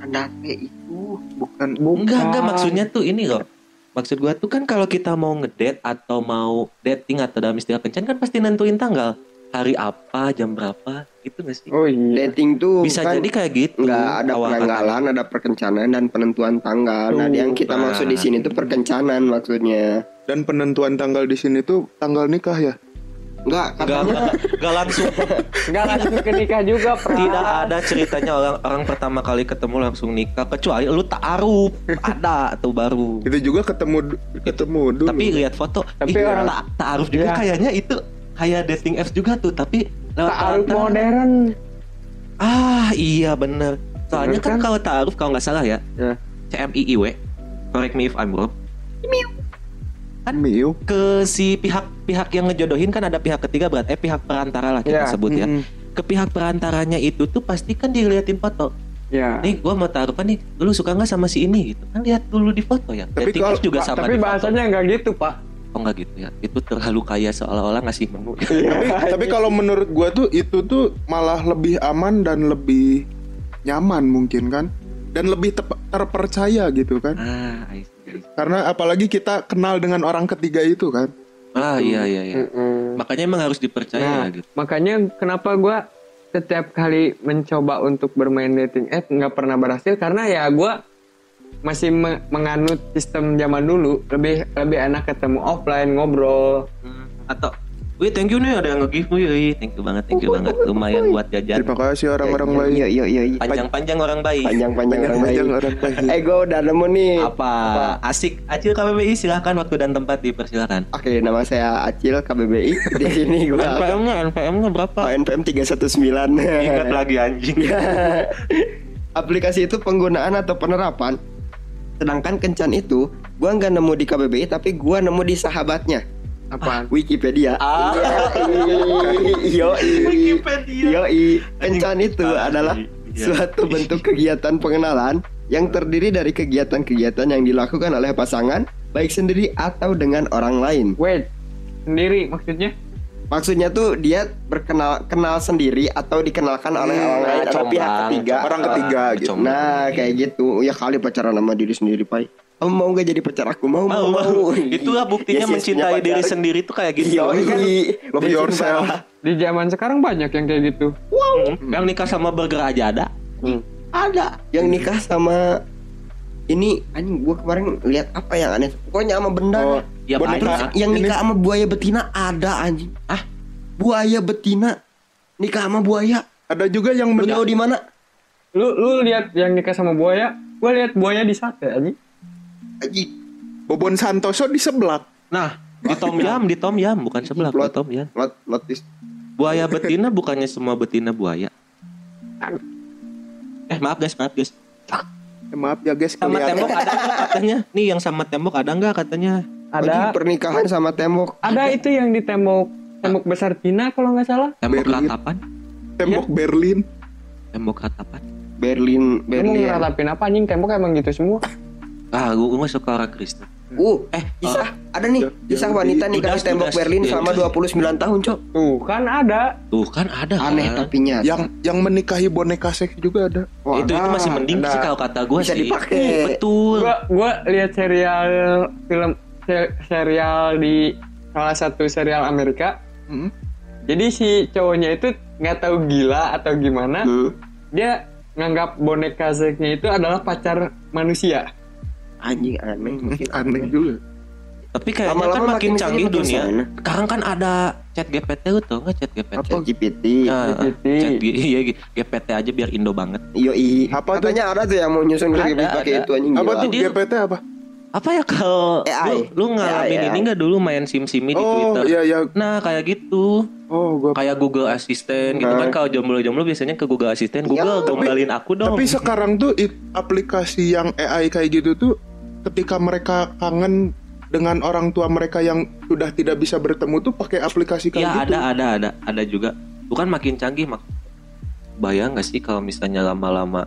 kandate itu Bukan Enggak Ah. enggak maksudnya tuh ini loh. Maksud gua tuh kan kalau kita mau ngedate atau mau dating atau dalam istilah kencan kan pasti nentuin tanggal. Hari apa, jam berapa, gitu gak sih? oh iya dating tuh Bisa kan jadi kayak gitu. nggak ada awal kata. penanggalan, ada perkencanan dan penentuan tanggal. Nah, yang kita Tuh, maksud nah. di sini tuh perkencanan maksudnya. dan penentuan tanggal di sini tuh tanggal nikah ya. Enggak, Gak, katanya gak- gak langsung Nggak langsung ke nikah juga Pras. tidak ada ceritanya orang orang pertama kali ketemu langsung nikah kecuali lu taaruf ada tuh baru itu juga ketemu ketemu dulu tapi lihat foto Tapi ih, orang- Ta- taaruf juga Iya. kayaknya itu kayak dating apps juga tuh tapi lewat Taaruf tangan. modern ah iya bener soalnya Bener kan, kan? kalau taaruf kalau nggak salah ya Iya. CMIIW correct me if I'm wrong Kan Miu. ke si pihak pihak yang ngejodohin kan ada pihak ketiga berarti eh pihak perantara lah kita Iya, sebut ya Mm-hmm. Hmm. mm-mm. ke pihak perantaranya itu tuh pasti kan diliatin foto Ya. nih gua mau taarufan nih lu suka nggak sama si ini gitu kan lihat dulu di foto ya Tapi dating kalau- apps juga Pa- tapi sama di foto. bahasanya nggak gitu pak oh nggak gitu ya itu terlalu kaya seolah-olah ngasih menu Iya. tapi tapi kalau menurut gua tuh itu tuh malah lebih aman dan lebih nyaman mungkin kan dan lebih tep- terpercaya gitu kan ah I see, I see. karena apalagi kita kenal dengan orang ketiga itu kan ah iya iya iya Mm-mm. makanya emang harus dipercaya Nah, gitu makanya kenapa gua setiap kali mencoba untuk bermain dating app nggak pernah berhasil karena ya gua masih me- menganut sistem zaman dulu lebih lebih enak ketemu offline ngobrol Hmm, atau Wih thank you nih ada yang nge-gift wih, wih. Thank you banget, thank you banget Lumayan buat jajan terima kasih orang-orang baik Iya, iya, iya. iya. Panjang-panjang orang baik Panjang-panjang orang baik. panjang orang baik Eh, gue udah nemu nih. Apa? Asik Acil KBBI silahkan waktu dan tempat dipersilakan Oke, nama saya Acil KBBI. Di sini gue NPM-nya, NPM-nya berapa? NPM 319. Ingat lagi anjing aplikasi itu penggunaan atau penerapan sedangkan kencan itu gua nggak nemu di KBBI tapi gua nemu di sahabatnya apaan Wikipedia Ah. yo Wikipedia Ah, iya. yo kencan itu adalah suatu bentuk kegiatan pengenalan yang terdiri dari kegiatan-kegiatan yang dilakukan oleh pasangan baik sendiri atau dengan orang lain wait sendiri maksudnya maksudnya tuh dia berkenal kenal sendiri atau dikenalkan oleh orang lain atau combang, pihak ketiga orang ketiga Ah, gitu combang. Nah kayak gitu Ya kali pacaran sama diri sendiri Pai Kamu mau gak jadi pacar aku? Mau Mau, mau, mau. mau. Iya, Itulah buktinya Yes, yes, mencintai punya diri pacar. Iya, sendiri tuh kayak gitu Yoi. love Dia yourself sumpah. di zaman sekarang banyak yang kayak gitu Hmm. Yang nikah sama burger aja ada Ada Yang nikah sama Ini anjing gua kemarin lihat apa yang aneh Pokoknya sama benda Oh, Ya Boneka. banyak Terus ah. yang Ini- nikah sama buaya betina ada anjing Ah buaya betina Nikah sama buaya ada juga yang Lu tahu men- di mana? lu lu lihat yang nikah sama buaya gue lihat buaya di sate aja Anjing Bobon Santoso di sebelah Nah di Tom iya. Yam, di Tom Yam bukan sebelah, di Tom Yam. Lot, lotis Buaya betina bukannya semua betina buaya. Eh maaf guys, maaf guys. Eh, maaf ya guys Sama kelihatan tembok ada nggak katanya? Nih yang sama tembok ada nggak katanya? ada Anjing, pernikahan sama tembok ada itu yang di tembok tembok besar Cina kalau nggak salah Tembok Berlin. ratapan? tembok iya. Berlin Tembok ratapan? Berlin lu mau Berlin ngeratapin apa anjing tembok emang gitu semua Ah, gue nggak suka orang Kristen. Uh, Eh, kisah ada nih Jangan Iya, kisah wanita di- nikah di Judas, tembok Judas, Berlin Judas. selama 29 tahun, Cok. tuh kan ada Tuh kan ada. Aneh kan? tapi nyata. yang yang menikahi boneka seks juga ada Wah, itu itu ada, masih mending ada. sih kalau kata gue Bisa sih. Iya, dipakai. Betul. gua gua lihat serial film se- serial di salah satu serial Amerika Hmm. jadi si cowoknya itu nggak tahu gila atau gimana dia nganggap boneka seksnya itu adalah pacar manusia Anjing Hmm, aneh. aneh juga Tapi kayaknya kan Lama-lama makin, makin canggih sini makin dunia. sana. Sekarang kan ada chat GPT lu tau nggak chat GPT? Apa GPT? Ya, GPT. chat G- iya, GPT aja biar Indo banget. Yo i. Apa tuh? Katanya ada tuh yang mau nyusun Ada, GPT pakai ada. itu anjing. apa gila. tuh Jadi- GPT apa Apa ya kalau AI. lu, lu ngalamin AI. ini nggak dulu main sim-simi di oh Twitter? iya iya Nah kayak gitu, oh gua kayak Google Assistant gitu kan Nah. kalau jomblo-jomblo biasanya ke Google Assistant, Google gombalin aku dong. Iya, Tapi sekarang tuh it- aplikasi yang AI kayak gitu tuh ketika mereka kangen dengan orang tua mereka yang sudah tidak bisa bertemu tuh pakai aplikasi Iya kayak gitu. ada ada ada ada juga. Bukan makin canggih mak. Bayang nggak sih kalau misalnya lama-lama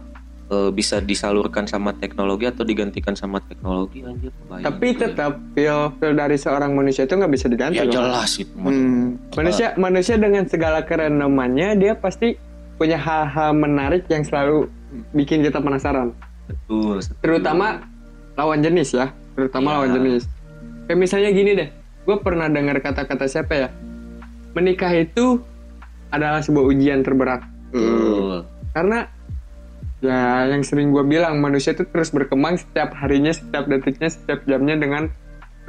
eh, bisa disalurkan sama teknologi atau digantikan sama teknologi anjir. Bayang. gitu tapi tetap feel feel dari seorang manusia itu nggak bisa diganti ya loh. jelas itu. mah. Hmm. manusia manusia dengan segala kerenemannya dia pasti punya hal-hal menarik yang selalu bikin kita penasaran Betul. setuju. terutama lawan jenis ya terutama Iya. lawan jenis kayak misalnya gini deh gue pernah dengar kata-kata siapa ya menikah itu adalah sebuah ujian terberat Betul. karena ya yang sering gue bilang manusia itu terus berkembang setiap harinya setiap detiknya setiap jamnya dengan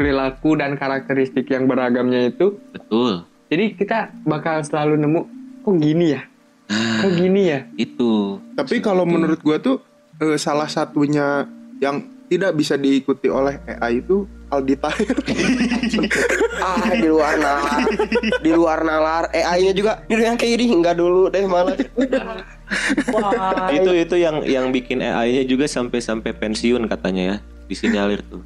perilaku dan karakteristik yang beragamnya itu Betul. Jadi kita bakal selalu nemu kok gini ya, kok Ah. gini ya. itu Tapi kalau Hmm. menurut gua tuh eh, salah satunya yang tidak bisa diikuti oleh AI itu Aldi Tahir. ah di luar nalar di luar nalar AI nya juga di yang kayak gini enggak dulu deh malah itu itu yang yang bikin AI-nya juga sampai-sampai pensiun katanya ya disinyalir tuh.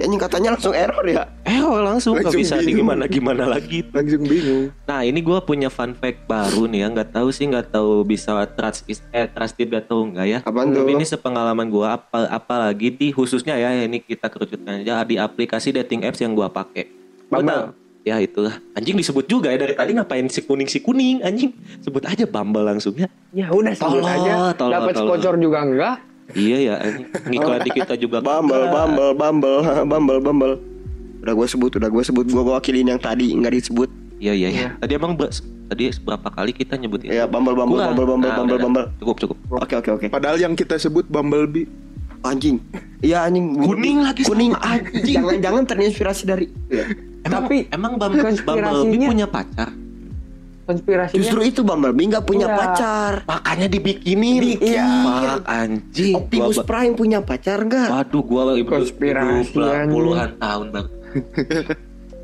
ya ini katanya langsung error ya Eh oh, langsung nggak Langsung bisa di bingung. gimana gimana lagi. Langsung bingung. Nah ini gua punya fun fact baru nih ya nggak tahu sih nggak tahu bisa trust is eh trusted atau enggak ya. Apaan Tapi tuh? ini sepengalaman gua apa apalagi di khususnya ya ini kita kerucutkan aja di aplikasi dating apps yang gua pakai. Gua Bumble. tahu- Ya itulah anjing disebut juga ya dari tadi ngapain si kuning si kuning anjing sebut aja Bumble langsung ya. Ya Eh, udah sebut Tolol, aja. tolol, Dapat tolol. sponsor juga enggak? Iya ya anjing ngiklan di kita juga. Bumble, Bumble, Bumble, Bumble, Bumble. Udah gue sebut, udah gue sebut, gue wakilin yang tadi nggak disebut. Iya iya iya. Tadi emang ber- tadi berapa kali kita nyebut itu? Ya Bumble, Bumble, Iya. Kurang. Bumble, Bumble, Nah, Bumble, udah, Bumble. udah. Cukup cukup. Oke, oke, oke. Padahal yang kita sebut Bumblebee. Anjing. Iya anjing. Kuning lagi sama Kuning anjing. Jangan-jangan terinspirasi dari. Ya. Emang, Tapi emang Bumble, konspirasinya- Bumblebee punya pacar. Konspirasinya Justru itu Bumblebee nggak punya Iya. pacar. Makanya dibikinin. Bikin. Mak, anjing. Optimus Gua ba- Prime punya pacar nggak? Waduh, gua lagi Konspirasi, puluhan, anjing. puluhan tahun bang.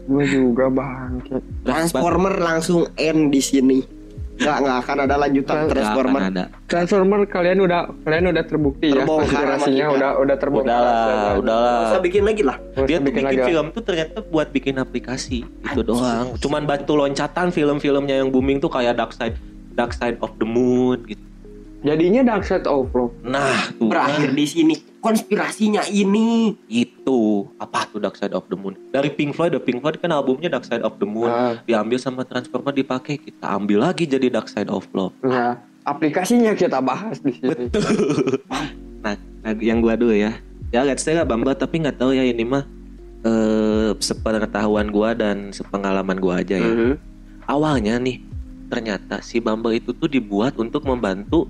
gue juga bangke. Transformer langsung end di sini. Nggak nggak akan ada lanjutan Nggak Transformer. ada. Transformer kalian udah kalian udah terbukti ya Terbongkar konspirasinya sama kita. udah udah terbongkar. Udahlah, udahlah. Bisa bikin lagi lah. Nggak usah Dia tuh bikin bikin lagi lah. film tuh ternyata buat bikin aplikasi itu doang. Cuman bantu loncatan film-filmnya yang booming tuh kayak Dark Side, Dark Side of the Moon gitu. Jadinya Dark Side of Love. Nah, tuh. Berakhir di sini. Konspirasinya ini. itu apa tuh Dark Side of the Moon dari Pink Floyd The Pink Floyd kan albumnya Dark Side of the Moon Nah, diambil sama Transformer dipakai kita ambil lagi jadi Dark Side of Love nah, aplikasinya kita bahas di sini. nah yang gua dulu ya ya let's say lah Bamba tapi nggak tahu ya ini mah eh sepengetahuan gua dan sepengalaman gua aja ya awalnya nih ternyata si Bumble itu tuh dibuat untuk membantu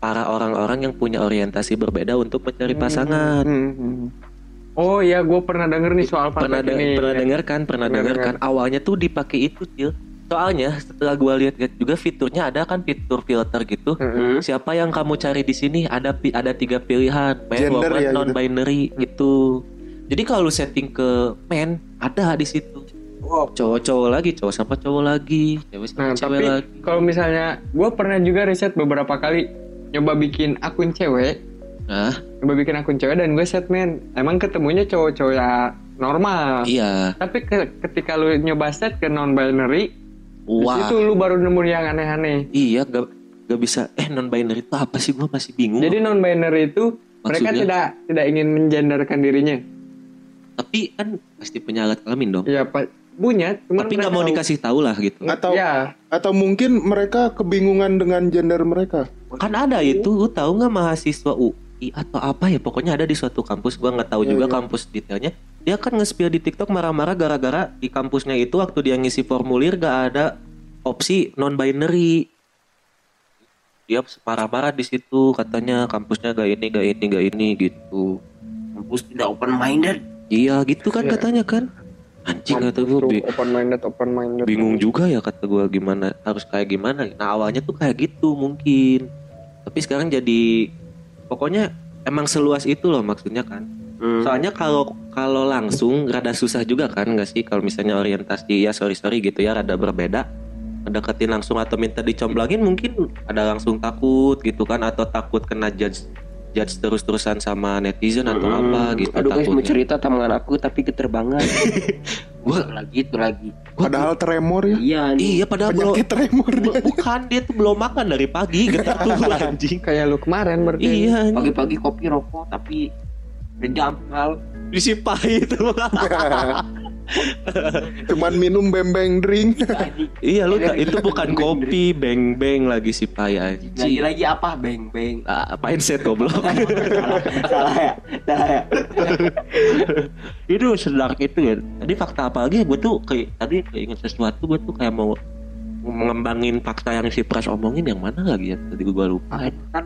para orang-orang yang punya orientasi berbeda untuk mencari pasangan Hmm, hmm. Oh iya, gue pernah denger nih soal fun pernah fact dengar ini. pernah dengar kan pernah Pernah dengar kan awalnya tuh dipakai itu Cil soalnya setelah gua lihat-lihat juga fiturnya ada kan fitur filter gitu Hmm. siapa yang kamu cari di sini ada pi- ada tiga pilihan man Gender woman ya, gitu. non binary gitu jadi kalau lu setting ke man ada di situ cowok-cowok lagi cowok sama cowok lagi cewek sama Nah, cewek tapi lagi kalau misalnya gue pernah juga riset beberapa kali nyoba bikin akun cewek, nah nyoba bikin akun cewek dan gue set men, emang ketemunya cowok-cowok ya normal. iya Tapi ke- ketika lu nyoba set ke non binary, wah itu lu baru nemu yang aneh-aneh. iya gak gak bisa eh non binary itu apa sih gua masih bingung Jadi non binary itu mereka Maksudnya? tidak tidak ingin menjenderkan dirinya. tapi kan pasti punya alat kelamin dong Iya, Pak. Punya, cuman tapi nggak mau dikasih tahu lah gitu Atau Ya, atau mungkin mereka kebingungan dengan gender mereka. kan ada Iya. itu lu tahu nggak mahasiswa UI atau apa ya pokoknya ada di suatu kampus gua nggak tahu Iya, juga iya. kampus detailnya dia kan nge-spill di TikTok marah-marah gara-gara di kampusnya itu waktu dia ngisi formulir gak ada opsi non binary dia marah-marah di situ katanya kampusnya gak ini gak ini gak ini gitu Kampus tidak open minded. iya gitu kan Iya. katanya kan anjing kata gue bi- open minded, open minded. bingung juga ya kata gua gimana harus kayak gimana nah awalnya tuh kayak gitu mungkin tapi sekarang jadi pokoknya emang seluas itu loh maksudnya kan Hmm. Hmm. soalnya kalau kalau langsung rada susah juga kan nggak sih kalau misalnya orientasi ya sorry sorry gitu ya rada berbeda deketin langsung atau minta dicomblangin mungkin ada langsung takut gitu kan atau takut kena judge judge terus-terusan sama netizen atau apa gitu Hmm. Aduh guys mau takutnya. cerita tangan aku tapi keterbangan. Gua- lagi itu lagi. Padahal tremor ya. Iya nih. iya padahal belum Penyakit tremor dia. bukan dia tuh belum makan dari pagi getar tuh anjing Kayak lu kemarin berarti. Iya, Pagi-pagi kopi rokok tapi berjamkal. disipahi itu. Cuman minum bembeng drink. iya, lu tak- itu bukan kopi, beng-beng lagi sipai Iya. anjing. Lagi-lagi apa beng beng. Ah, apain set goblok? Salah ya. Salah ya. itu sedark itu ya. Tadi fakta apa lagi? Gue tuh kayak tadi keinget sesuatu, gue tuh kayak mau mengembangin fakta yang si Pras omongin yang mana lagi ya? Tadi gue lupa. Kan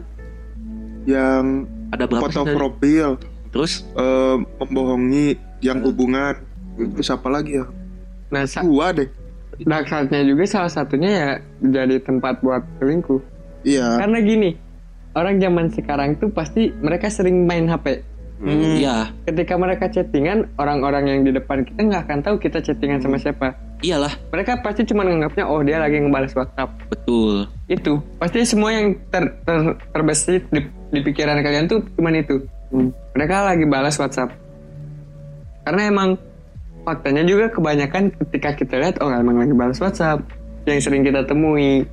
yang Ada berapa foto sih tadi? profil Terus eh, Hmm. membohongi yang hubungan. Terus apa lagi ya? Nah, sa- Gua deh. dark side-nya juga salah satunya ya jadi tempat buat selingkuh. Kan- Iya. Karena gini, orang zaman sekarang tuh pasti mereka sering main HP. Iya, Ketika mereka chattingan, orang-orang yang di depan kita nggak akan tahu kita chattingan sama siapa. iyalah, Mereka pasti cuma nganggapnya oh dia lagi ngebales WhatsApp. betul. Itu pasti semua yang ter, ter- terbesit di, di pikiran kalian tuh cuman itu. Hmm. Mereka lagi balas WhatsApp. Karena emang faktanya juga kebanyakan ketika kita lihat oh emang lagi balas WhatsApp yang sering kita temui.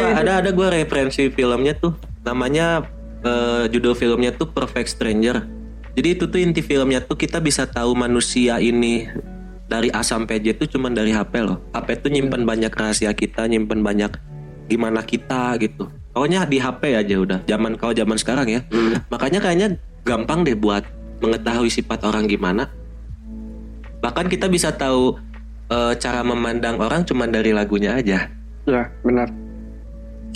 Itu- itu- ada ada gue referensi filmnya tuh, namanya eh, judul filmnya tuh Perfect Stranger. Jadi itu tuh inti filmnya tuh kita bisa tahu manusia ini dari A sampai J tuh cuman dari HP loh. HP tuh nyimpan banyak rahasia kita, nyimpan banyak gimana kita gitu. Pokoknya di HP aja udah. Zaman kau zaman sekarang ya. Makanya kayaknya gampang deh buat mengetahui sifat orang gimana. Bahkan kita bisa tahu eh, cara memandang orang cuman dari lagunya aja. Ya benar.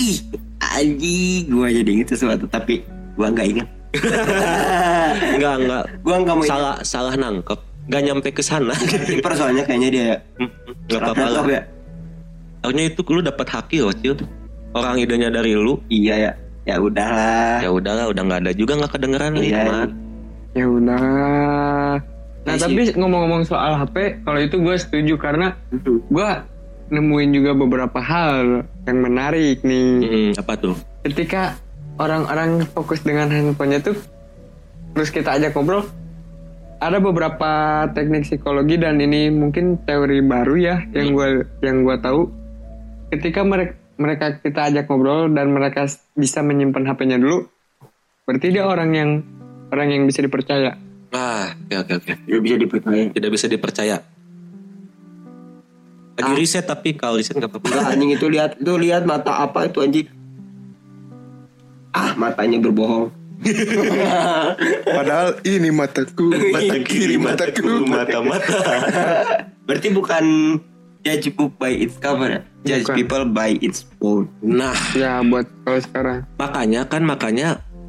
Ih, anjing, gua jadi inget sesuatu tapi gua nggak inget. Enggak, enggak. Gua nggak mau salah salah nangkep nggak nyampe ke sana inget Keeper soalnya kayaknya dia ya. nggak apa-apa lah Cakep ya. harusnya itu lu dapat haki loh Cil orang idenya dari lu Iya ya. Ya udahlah. ya udahlah udah nggak ada juga nggak kedengeran nih Iya. Mat. Ya udah. Nah Iya sih. tapi ngomong-ngomong soal HP, kalau itu gue setuju karena Hmm. gue nemuin juga beberapa hal yang menarik nih. Mm, apa tuh Ketika orang-orang fokus dengan handphonenya tuh, terus kita ajak ngobrol, ada beberapa teknik psikologi dan ini mungkin teori baru ya Iya. yang gue yang gua tahu. Ketika mereka mereka kita ajak ngobrol dan mereka s- bisa menyimpan HP-nya dulu, berarti dia orang yang orang yang bisa dipercaya. ah oke oke oke Ya, Dia bisa dipercaya. tidak bisa dipercaya Ah. lagi riset tapi kalau riset nggak apa-apa Enggak anjing itu lihat itu lihat mata apa itu anjing. Ah, matanya berbohong. Padahal ini mataku, mata Iya, kiri mataku. mata. Berarti bukan judge book by its cover. ya? Judge Bukan. people by its phone. nah Ya buat kalau sekarang. makanya kan makanya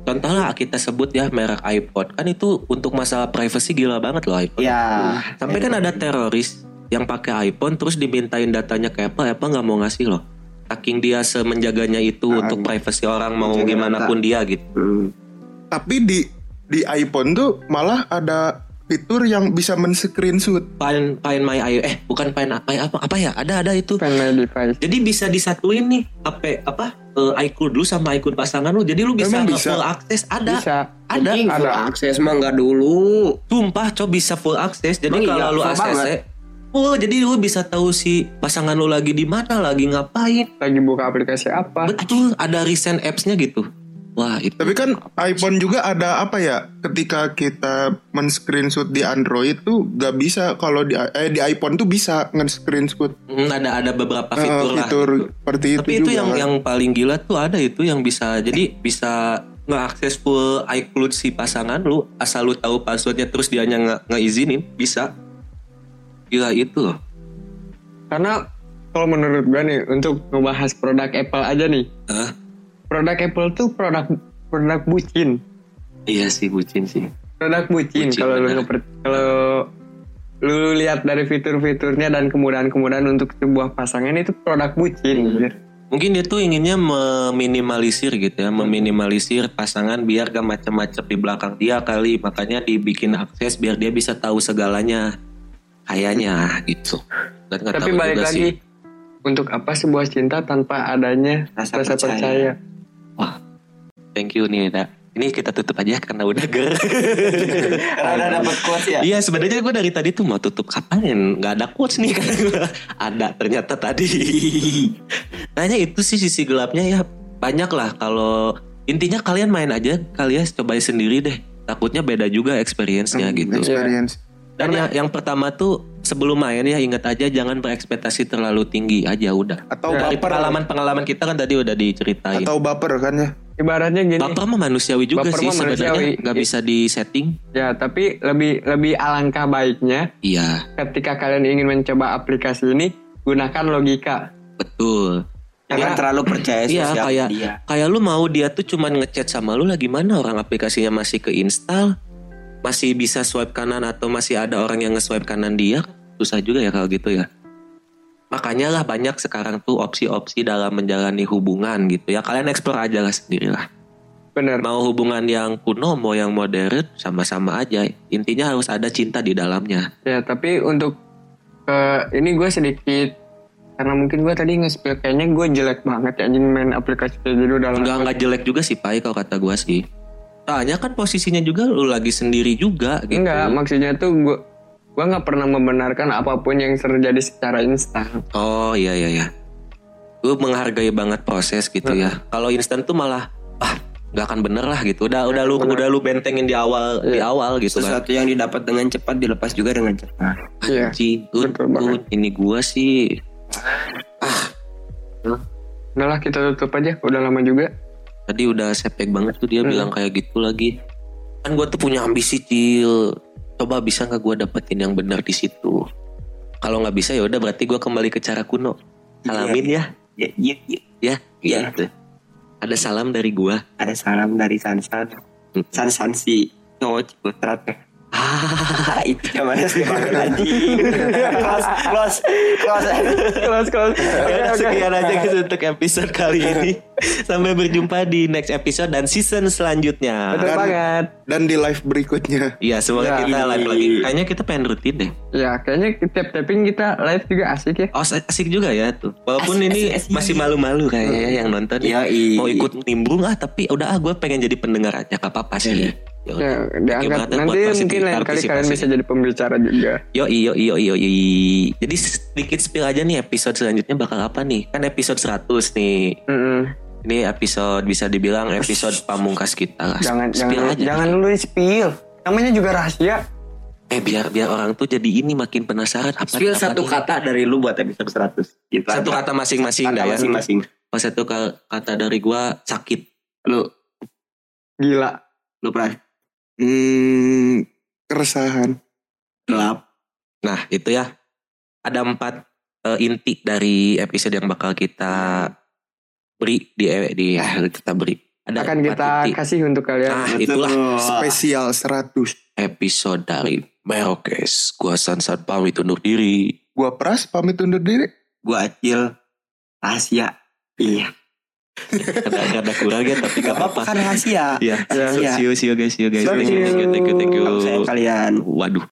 contohnya kita sebut ya merek iPod kan itu untuk masalah privacy gila banget loh iPod Ya, Sampai kan ada teroris yang pakai iPhone terus dimintain datanya ke Apple, Apple nggak mau ngasih loh. Saking dia semenjaganya itu untuk privacy orang mau Nah, menjaga gimana data. pun dia gitu. Hmm. Tapi di di iPhone tuh malah ada fitur yang bisa men-screenshot. Find find my i eh bukan find my apa apa ya? Ada ada itu. Find my device. Jadi bisa disatuin nih HP apa eh, iCloud lu sama iCloud pasangan lu. Jadi lu bisa, Emang nggak bisa? full akses ada Bisa. ada. Anjing, ada. full akses mah nggak dulu. Sumpah coba bisa full akses. Jadi Emang kalau iya? lu Full akses banget. Oh, jadi lu bisa tahu si pasangan lu lagi di mana, lagi ngapain. Lagi buka aplikasi apa? Betul, ada recent apps-nya gitu. Wah, itu Tapi kan iPhone juga ada apa ya? Ketika kita men-screenshot di Android tuh gak bisa kalau di eh di iPhone tuh bisa nge-screenshot Hmm, ada ada beberapa eh, fitur, lah. gitu. fitur seperti itu Tapi itu, juga. yang kan. yang paling gila tuh ada itu yang bisa jadi bisa ngeakses full iCloud si pasangan lu asal lu tahu passwordnya terus dia hanya nge ngeizinin bisa. Gila itu loh. Karena kalau menurut gue nih untuk ngebahas produk Apple aja nih. Hah? Produk Apple tuh produk produk bucin. Iya sih bucin sih. Produk bucin, Bucin, kalau lu benar. ngeper- kalau lu lihat dari fitur-fiturnya dan kemudahan-kemudahan untuk sebuah pasangan itu produk Hmm. bucin. anjir. Mungkin dia tuh inginnya meminimalisir gitu ya, meminimalisir pasangan biar gak macam-macam di belakang dia kali, makanya dibikin akses biar dia bisa tahu segalanya. Kayaknya gitu. Dan nggak Tapi tahu balik juga lagi sih. untuk apa sebuah cinta tanpa adanya Rasa percaya. rasa, percaya. Wah, thank you nih, Dak. Ini kita tutup aja karena udah ger. Karena dapat quotes ya. Iya, sebenarnya gue dari tadi tuh mau tutup kapan ya? Nggak ada quotes nih kan? ada ternyata tadi. Nanya itu sih sisi gelapnya ya banyak lah. Kalau intinya kalian main aja, kalian cobain sendiri deh. Takutnya beda juga experience-nya gitu. experience. Dan yang, yang pertama tuh sebelum main ya ingat aja jangan berekspektasi terlalu tinggi aja udah. Atau Dari baper pengalaman-pengalaman kita kan tadi udah diceritain. atau baper kan ya. Ibaratnya gini. Baper mah manusiawi juga Baper sih mah sebenarnya manusiawi. nggak bisa di setting. Ya, tapi lebih lebih alangkah baiknya Iya, ketika kalian ingin mencoba aplikasi ini gunakan logika betul. Ya. Jangan terlalu percaya Iya Eh, sosial kayak media. kayak lu mau dia tuh cuman ngechat sama lu lagi mana orang aplikasinya masih ke install masih bisa swipe kanan atau masih ada orang yang nge-swipe kanan dia susah juga ya kalau gitu ya makanya lah banyak sekarang tuh opsi-opsi dalam menjalani hubungan gitu ya kalian explore aja lah sendirilah bener mau hubungan yang kuno mau yang modern sama-sama aja intinya harus ada cinta di dalamnya Ya tapi untuk eh, ini gue sedikit karena mungkin gue tadi nge-spill kayaknya gue jelek banget ya anjing main aplikasi kayak gitu dalam Enggak enggak jelek juga sih Pai kalau kata gua sih. Soalnya kan posisinya juga lu lagi sendiri juga gitu. Enggak, maksudnya tuh gue gue nggak pernah membenarkan apapun yang terjadi secara instan. Oh iya iya iya. Lu menghargai banget proses gitu ya. Kalau instan tuh malah ah nggak akan bener lah gitu. Udah udah lu udah lu bentengin di awal di awal gitu kan. Sesuatu yang didapat dengan cepat dilepas juga dengan cepat. Iya. Ci, lu- betul lu- ini gua sih Udahlah kita tutup aja, udah lama juga. tadi udah sepek banget tuh dia bilang kayak gitu lagi. Kan gua tuh punya ambisi Cil. Coba bisa nggak gua dapetin yang bener di situ. Kalau nggak bisa ya udah berarti gua kembali ke cara kuno. Salamin ya. Ya, ya, iya, ya. ya Iya. gitu. ada salam dari gua Ada salam dari Sansan. Sansan si cowok Ciputrat. Ah, itu zamannya sih banget anjing. Close, close, close. kelas kelas. Oke, Ya, oke. sekian aja guys untuk episode kali ini sampai berjumpa di next episode dan season selanjutnya Betul Dan- banget. dan di live berikutnya Iya semoga Ya. kita live lagi kayaknya kita pengen rutin deh Ya kayaknya tiap taping kita live juga asik ya. oh asik juga ya tuh walaupun ini masih malu-malu kayaknya ya yang nonton Ya, i. mau ikut nimbrung ah tapi udah ah gue pengen jadi pendengar aja gak apa-apa sih Ya udah. Ya, diangkat banget nanti buat partisip- mungkin lain kali kalian partisipasi. bisa jadi pembicara juga. Yo yo yo yo yo. Jadi sedikit spill aja nih episode selanjutnya bakal apa nih? Kan episode 100 nih. Mm-mm. Ini episode bisa dibilang episode pamungkas kita lah. Jangan Spill jangan aja. jangan lu spill. Namanya juga rahasia. Eh biar biar orang tuh jadi ini makin penasaran apa Spill apa satu nih? kata dari lu buat episode 100. Gitu Satu aja. kata masing-masing Kata dah ya. masing-masing. Pas satu ka- kata dari gua sakit. Lu, Gila. lu pernah hmm, keresahan gelap. Nah, itu ya. Ada empat eh, inti dari episode yang bakal kita beri di di ah, kita beri. Ada Akan empat kita inti. kasih untuk kalian. Nah, itulah spesial 100 episode dari Merokes. Gua Sansan pamit undur diri. gua pras pamit undur diri Gua acil. Rahasia. Iya. Ada ada kurang ya tapi gak apa-apa. Kan rahasia. Iya. Rahasia. See you, see you guys, see you guys. Love Thank you, thank you, thank you, thank you. Sayang kalian. Waduh.